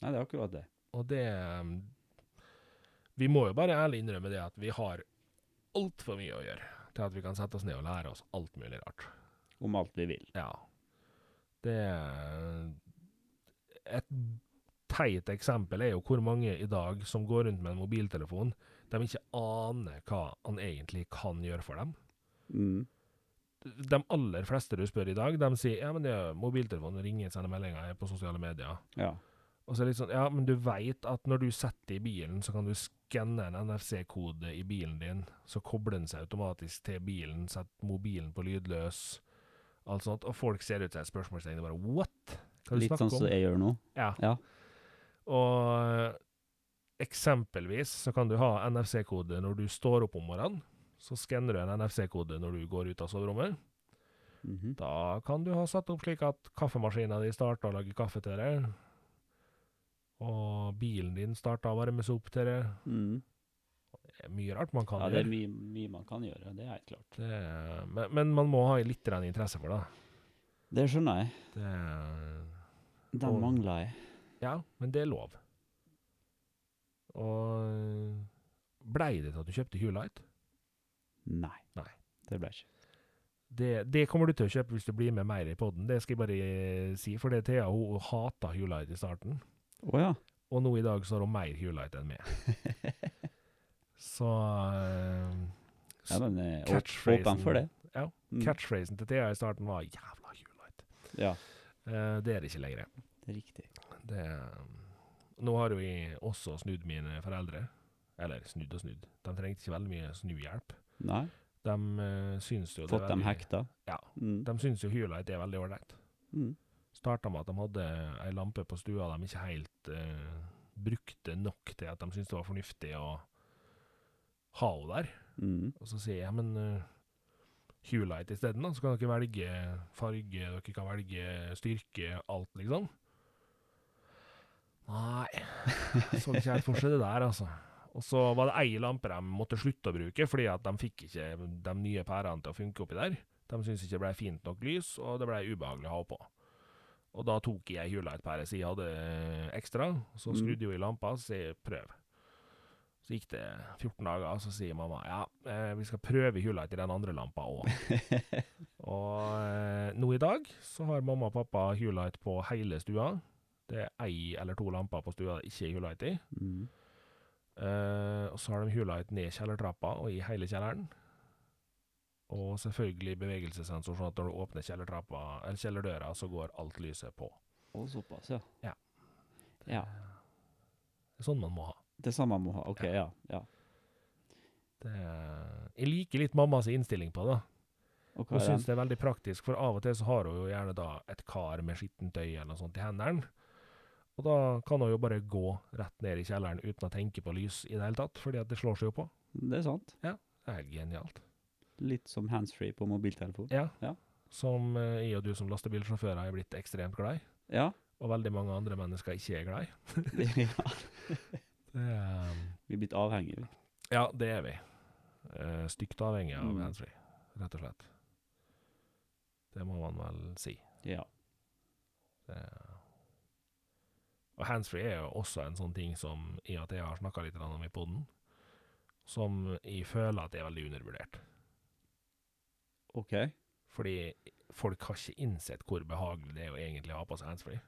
[SPEAKER 2] Nei, det er akkurat det.
[SPEAKER 1] Og det um, Vi må jo bare ærlig innrømme det at vi har altfor mye å gjøre til at vi kan sette oss ned og lære oss alt mulig rart.
[SPEAKER 2] Om alt vi vil.
[SPEAKER 1] Ja. Det er Et teit eksempel er jo hvor mange i dag som går rundt med en mobiltelefon de ikke aner hva han egentlig kan gjøre for dem.
[SPEAKER 2] Mm.
[SPEAKER 1] De aller fleste du spør i dag, de sier ja, men det er mobiltelefon, ringer, sender meldinger, er på sosiale medier.
[SPEAKER 2] Ja.
[SPEAKER 1] Og så er det litt sånn, ja, men du veit at når du setter i bilen, så kan du skanne en NFC-kode i bilen din, så kobler den seg automatisk til bilen, setter mobilen på lydløs, alt sånt, og folk ser ut som et spørsmålstegn, det er bare what? Hva er det du
[SPEAKER 2] Litt sånn
[SPEAKER 1] snakker
[SPEAKER 2] som
[SPEAKER 1] om?
[SPEAKER 2] jeg gjør nå.
[SPEAKER 1] Ja.
[SPEAKER 2] Ja.
[SPEAKER 1] Og eh, eksempelvis så kan du ha NFC-kode når du står opp om morgenen, så skanner du en NFC-kode når du går ut av soverommet,
[SPEAKER 2] Mhm.
[SPEAKER 1] da kan du ha satt opp slik at kaffemaskinen din starter å lage kaffe til deg, og bilen din starter å varmes opp til deg.
[SPEAKER 2] mm.
[SPEAKER 1] Det er mye rart man kan
[SPEAKER 2] Ja, det er
[SPEAKER 1] gjøre.
[SPEAKER 2] mye, mye man kan gjøre, det er helt klart.
[SPEAKER 1] Det er, men, men man må ha litt grann interesse for det.
[SPEAKER 2] Det skjønner jeg.
[SPEAKER 1] det er,
[SPEAKER 2] Den
[SPEAKER 1] Og-
[SPEAKER 2] mangler jeg.
[SPEAKER 1] ja, men det er lov. Og blei det til at du kjøpte Hulight?
[SPEAKER 2] Nei.
[SPEAKER 1] Nei.
[SPEAKER 2] Det ble ikke.
[SPEAKER 1] Det, det kommer du til å kjøpe hvis du blir med mer i podden, det skal jeg bare si. For det Thea hun hata Hulight i starten.
[SPEAKER 2] Å ja.
[SPEAKER 1] Og nå i dag så har hun mer Hulight enn meg. Så eh,
[SPEAKER 2] ja men jeg er åp-
[SPEAKER 1] Catchphrasen.
[SPEAKER 2] åpen for det.
[SPEAKER 1] Ja,
[SPEAKER 2] Mm.
[SPEAKER 1] catchphrasen til Thea i starten var 'jævla Hulight'.
[SPEAKER 2] Ja,
[SPEAKER 1] Eh, det er det ikke lenger.
[SPEAKER 2] det er riktig.
[SPEAKER 1] Det, eh, nå har jo jeg også snudd mine foreldre. Eller snudd og snudd. De trengte ikke veldig mye snuhjelp.
[SPEAKER 2] Nei.
[SPEAKER 1] De eh, syns jo det
[SPEAKER 2] Fått
[SPEAKER 1] er
[SPEAKER 2] dem
[SPEAKER 1] veldig-
[SPEAKER 2] hekta.
[SPEAKER 1] Ja.
[SPEAKER 2] Mm.
[SPEAKER 1] De syns jo Hulight er veldig ålreit.
[SPEAKER 2] Mm.
[SPEAKER 1] Starta med at de hadde ei lampe på stua de ikke helt eh, brukte nok til at de syntes det var fornuftig å ha henne der.
[SPEAKER 2] Mm.
[SPEAKER 1] Og så sier jeg, men uh, Hulight isteden, da. Så kan dere velge farge, dere kan velge styrke, alt, liksom. Nei, så ikke helt for seg det der, altså. Og så var det ei lampe de måtte slutte å bruke, fordi at de fikk ikke de nye pærene til å funke oppi der. De syntes ikke det ble fint nok lys, og det ble ubehagelig å ha på. Og da tok jeg Hulight-pære som jeg hadde eh, ekstra, så
[SPEAKER 2] Mm.
[SPEAKER 1] skrudde jeg i lampa, så sier jeg prøv. Så gikk det 14 dager, og så sier mamma ja, eh, vi skal prøve Hulight i den andre lampa òg. og eh, nå i dag så har mamma og pappa Hulight på hele stua. Det er ei eller to lamper på stua det ikke er Hulight i.
[SPEAKER 2] Mm.
[SPEAKER 1] Eh, og så har de Hulight ned kjellertrappa og i hele kjelleren. Og selvfølgelig bevegelsessensor, sånn at når du åpner kjellertrappa, eller kjellerdøra, så går alt lyset på.
[SPEAKER 2] Og såpass, ja.
[SPEAKER 1] Ja.
[SPEAKER 2] Ja.
[SPEAKER 1] Det er sånn man må ha.
[SPEAKER 2] Det samme må ha. OK, ja. ja.
[SPEAKER 1] Det er, jeg liker litt mammas innstilling på det.
[SPEAKER 2] Og hva
[SPEAKER 1] Hun
[SPEAKER 2] er
[SPEAKER 1] syns
[SPEAKER 2] den?
[SPEAKER 1] det er veldig praktisk, for av og til så har hun jo gjerne da et kar med skittentøy eller noe sånt i hendene. Og da kan hun jo bare gå rett ned i kjelleren uten å tenke på lys i det hele tatt, fordi at det slår seg jo på.
[SPEAKER 2] Det er sant.
[SPEAKER 1] Det er helt genialt.
[SPEAKER 2] Litt som handsfree på mobiltelefon.
[SPEAKER 1] Ja.
[SPEAKER 2] Ja.
[SPEAKER 1] Som eh, jeg og du som lastebilsjåfører er blitt ekstremt glad i,
[SPEAKER 2] Ja.
[SPEAKER 1] og veldig mange andre mennesker ikke er glad i.
[SPEAKER 2] ja.
[SPEAKER 1] Det er,
[SPEAKER 2] Vi er blitt avhengige, vi.
[SPEAKER 1] ja, det er vi. Eh, Stygt avhengig av
[SPEAKER 2] Mm.
[SPEAKER 1] handsfree, rett og slett. Det må man vel si.
[SPEAKER 2] Ja.
[SPEAKER 1] Det og handsfree er jo også en sånn ting som i at jeg har snakka litt grann om i poden, som jeg føler at er veldig undervurdert.
[SPEAKER 2] OK.
[SPEAKER 1] Fordi folk har ikke innsett hvor behagelig det er å egentlig ha på seg handsfree.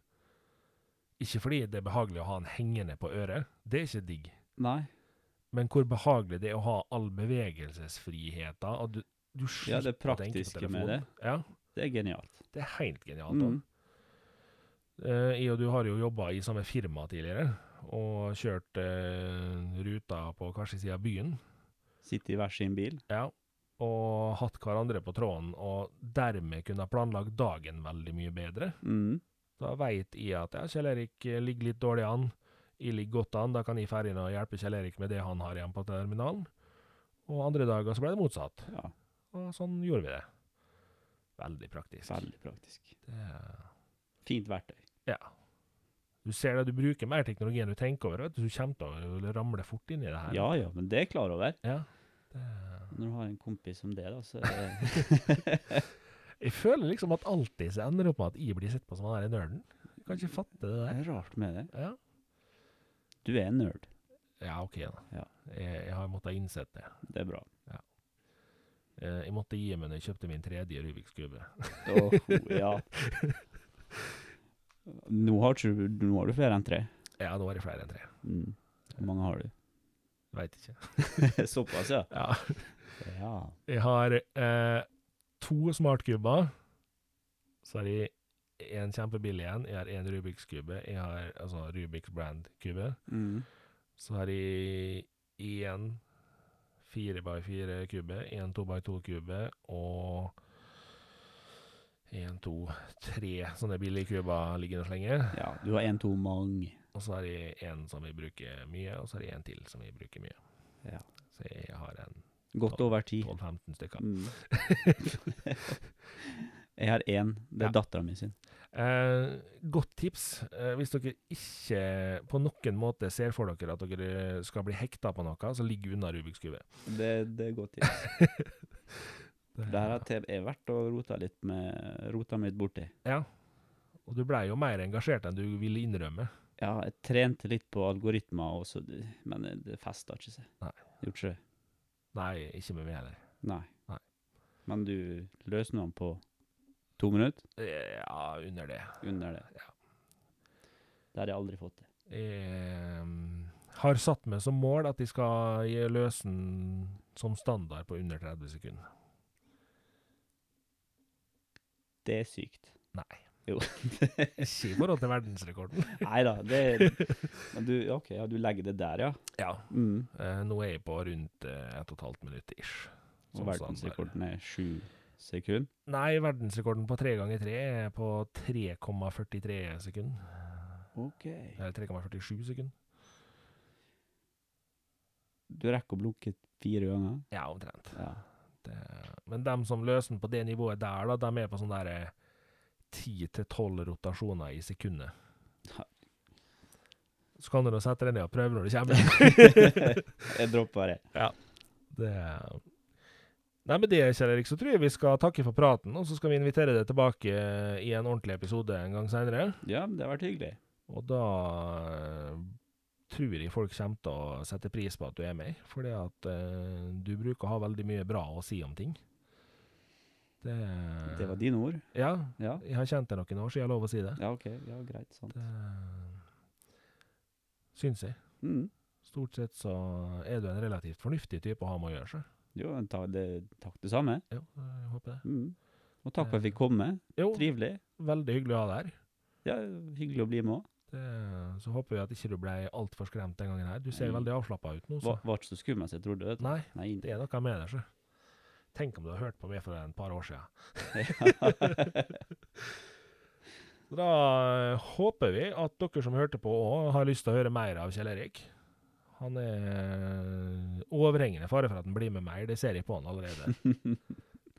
[SPEAKER 1] Ikke fordi det er behagelig å ha den hengende på øret, det er ikke digg,
[SPEAKER 2] Nei.
[SPEAKER 1] men hvor behagelig det er å ha all bevegelsesfriheta. Og du, du
[SPEAKER 2] Ja, det
[SPEAKER 1] slipper å tenke på
[SPEAKER 2] praktiske med
[SPEAKER 1] telefonen.
[SPEAKER 2] det.
[SPEAKER 1] Ja,
[SPEAKER 2] Det er genialt.
[SPEAKER 1] det er helt genialt. da.
[SPEAKER 2] Mm.
[SPEAKER 1] Eh, jeg og du har jo jobba i samme firma tidligere, og kjørt eh, ruta på hver sin side av byen.
[SPEAKER 2] Sitte i hver sin bil.
[SPEAKER 1] Ja. Og hatt hverandre på tråden, og dermed kunne ha planlagt dagen veldig mye bedre.
[SPEAKER 2] Mm.
[SPEAKER 1] Da veit jeg at ja, Kjell Erik eh, ligger litt dårlig an, jeg ligger godt an, da kan jeg ferdig og hjelpe Kjell Erik med det han har igjen på terminalen. Og andre dager så ble det motsatt,
[SPEAKER 2] Ja,
[SPEAKER 1] og sånn gjorde vi det. Veldig praktisk.
[SPEAKER 2] veldig praktisk.
[SPEAKER 1] Det er
[SPEAKER 2] Fint verktøy.
[SPEAKER 1] Ja. Du ser det, du bruker mer teknologi enn du tenker over. Vet du. du kommer til å ramle fort inn i det her.
[SPEAKER 2] Ja ja, men det er jeg klar over.
[SPEAKER 1] Ja. Det-
[SPEAKER 2] Når du har en kompis som det, da, så er det
[SPEAKER 1] Jeg føler liksom at alltid så ender det opp med at jeg blir sett på som han der nerden. Jeg kan ikke fatte
[SPEAKER 2] det
[SPEAKER 1] det
[SPEAKER 2] er rart med det.
[SPEAKER 1] der. Ja,
[SPEAKER 2] Du er en nerd.
[SPEAKER 1] ja OK, da.
[SPEAKER 2] Ja.
[SPEAKER 1] Jeg, jeg har måttet innsett det.
[SPEAKER 2] Det er bra.
[SPEAKER 1] Eh, Jeg måtte gi meg når jeg kjøpte min tredje Rubiks kube.
[SPEAKER 2] Åh, ja. Nå har, ikke du, nå har du flere enn tre.
[SPEAKER 1] Ja, nå er det flere enn tre.
[SPEAKER 2] Mm. Hvor mange har du?
[SPEAKER 1] Veit ikke.
[SPEAKER 2] Såpass, ja.
[SPEAKER 1] Ja.
[SPEAKER 2] ja.
[SPEAKER 1] Jeg har eh, to smartkuber. Så har jeg én kjempebillig en. Jeg har én Rubiks kube. Jeg har altså Rubiks brand-kube.
[SPEAKER 2] Mm.
[SPEAKER 1] Så har jeg én fire by fire kube, én to by to kube og én, to, tre sånne billige kuber liggende og slenge.
[SPEAKER 2] ja. Du har en, to, mange.
[SPEAKER 1] Og så har jeg én som jeg bruker mye, og så har jeg én til som jeg bruker mye.
[SPEAKER 2] Ja.
[SPEAKER 1] Så jeg har en
[SPEAKER 2] Godt over ti.
[SPEAKER 1] 12-15 stykker.
[SPEAKER 2] Mm. jeg har én. Det er
[SPEAKER 1] Ja.
[SPEAKER 2] dattera mi sin.
[SPEAKER 1] Eh, godt tips eh, hvis dere ikke på noen måte ser for dere at dere skal bli hekta på noe, så ligg unna Rubiks kube.
[SPEAKER 2] Det, det er godt tips. Der har te- jeg vært og rota litt med rota mitt borti.
[SPEAKER 1] Og du blei jo mer engasjert enn du ville innrømme.
[SPEAKER 2] Ja, jeg trente litt på algoritmer, og så, men det festa ikke seg.
[SPEAKER 1] Nei.
[SPEAKER 2] Gjorde ikke det?
[SPEAKER 1] Nei, ikke med meg heller.
[SPEAKER 2] Nei.
[SPEAKER 1] Nei.
[SPEAKER 2] Men du løser den på to minutter
[SPEAKER 1] Eh, Ja, under det.
[SPEAKER 2] under det.
[SPEAKER 1] Ja.
[SPEAKER 2] Det har jeg aldri fått til.
[SPEAKER 1] Jeg mm, har satt meg som mål at jeg skal gi løse den som standard på under 30 sekunder.
[SPEAKER 2] Det er sykt.
[SPEAKER 1] Nei.
[SPEAKER 2] Jo.
[SPEAKER 1] Ikke i forhold til verdensrekorden.
[SPEAKER 2] Nei da, det Men du, OK, ja, du legger det der, ja.
[SPEAKER 1] Ja.
[SPEAKER 2] Mm.
[SPEAKER 1] Eh, nå er jeg på rundt eh, ett og et halvt minutt ish.
[SPEAKER 2] Og
[SPEAKER 1] Sånn standard.
[SPEAKER 2] verdensrekorden er sju sekunder.
[SPEAKER 1] Nei, verdensrekorden på tre ganger tre er på 3,43 sekunder.
[SPEAKER 2] OK.
[SPEAKER 1] Eller 3,47 sekunder.
[SPEAKER 2] Du rekker å blunke fire ganger?
[SPEAKER 1] Ja, omtrent.
[SPEAKER 2] Ja.
[SPEAKER 1] Det, men dem som løser den på det nivået der, da, dem er på sånn derre 10-12 rotasjoner i sekundet.
[SPEAKER 2] Ja.
[SPEAKER 1] Så kan du nå sette deg ned og prøve når du kommer.
[SPEAKER 2] jeg dropper det.
[SPEAKER 1] Det Nei, med det, Kjell Erik, så tror jeg vi skal takke for praten, og så skal vi invitere deg tilbake eh, i en ordentlig episode en gang seinere.
[SPEAKER 2] Ja, men det har vært hyggelig.
[SPEAKER 1] Og da eh, tror jeg folk kommer til å sette pris på at du er med, fordi at eh, du bruker å ha veldig mye bra å si om ting. Det,
[SPEAKER 2] Det var dine ord.
[SPEAKER 1] Ja,
[SPEAKER 2] Ja,
[SPEAKER 1] jeg har kjent deg noen år, så jeg har lov å si det.
[SPEAKER 2] ja OK. Ja, greit. Sånn. Sant.
[SPEAKER 1] Det syns jeg.
[SPEAKER 2] Mm.
[SPEAKER 1] Stort sett så er du en relativt fornuftig type å ha med å gjøre seg.
[SPEAKER 2] Jo, men ta, det, takk det samme.
[SPEAKER 1] Jo, jeg håper det.
[SPEAKER 2] Mm. Og takk for at jeg fikk komme.
[SPEAKER 1] Jo,
[SPEAKER 2] Trivelig.
[SPEAKER 1] veldig hyggelig å ha deg her.
[SPEAKER 2] Ja, hyggelig å bli med òg.
[SPEAKER 1] Det, så håper vi at ikke du ble altfor skremt den gangen her. Du ser
[SPEAKER 2] Nei.
[SPEAKER 1] veldig avslappa ut nå. Så.
[SPEAKER 2] Var, var ikke så skummel som jeg trodde. Vet du.
[SPEAKER 1] Nei,
[SPEAKER 2] Nei.
[SPEAKER 1] det er noe med det. Så. Tenk om du har hørt på meg for en par år siden. Så da eh, håper vi at dere som hørte på òg har lyst til å høre mer av Kjell Erik. Han er eh, overhengende fare for at han blir med mer, det ser jeg på han allerede.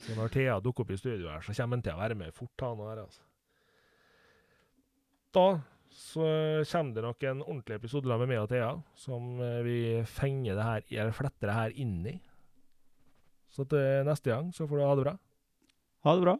[SPEAKER 1] Så når Thea dukker opp i studio her, så kommer han til å være med fort, han her, altså. Da så kommer det nok en ordentlig episode da med meg og Thea, som eh, vi fenger det her, eller fletter det her inn i. Så til neste gang så får du ha det bra.
[SPEAKER 2] Ha det bra.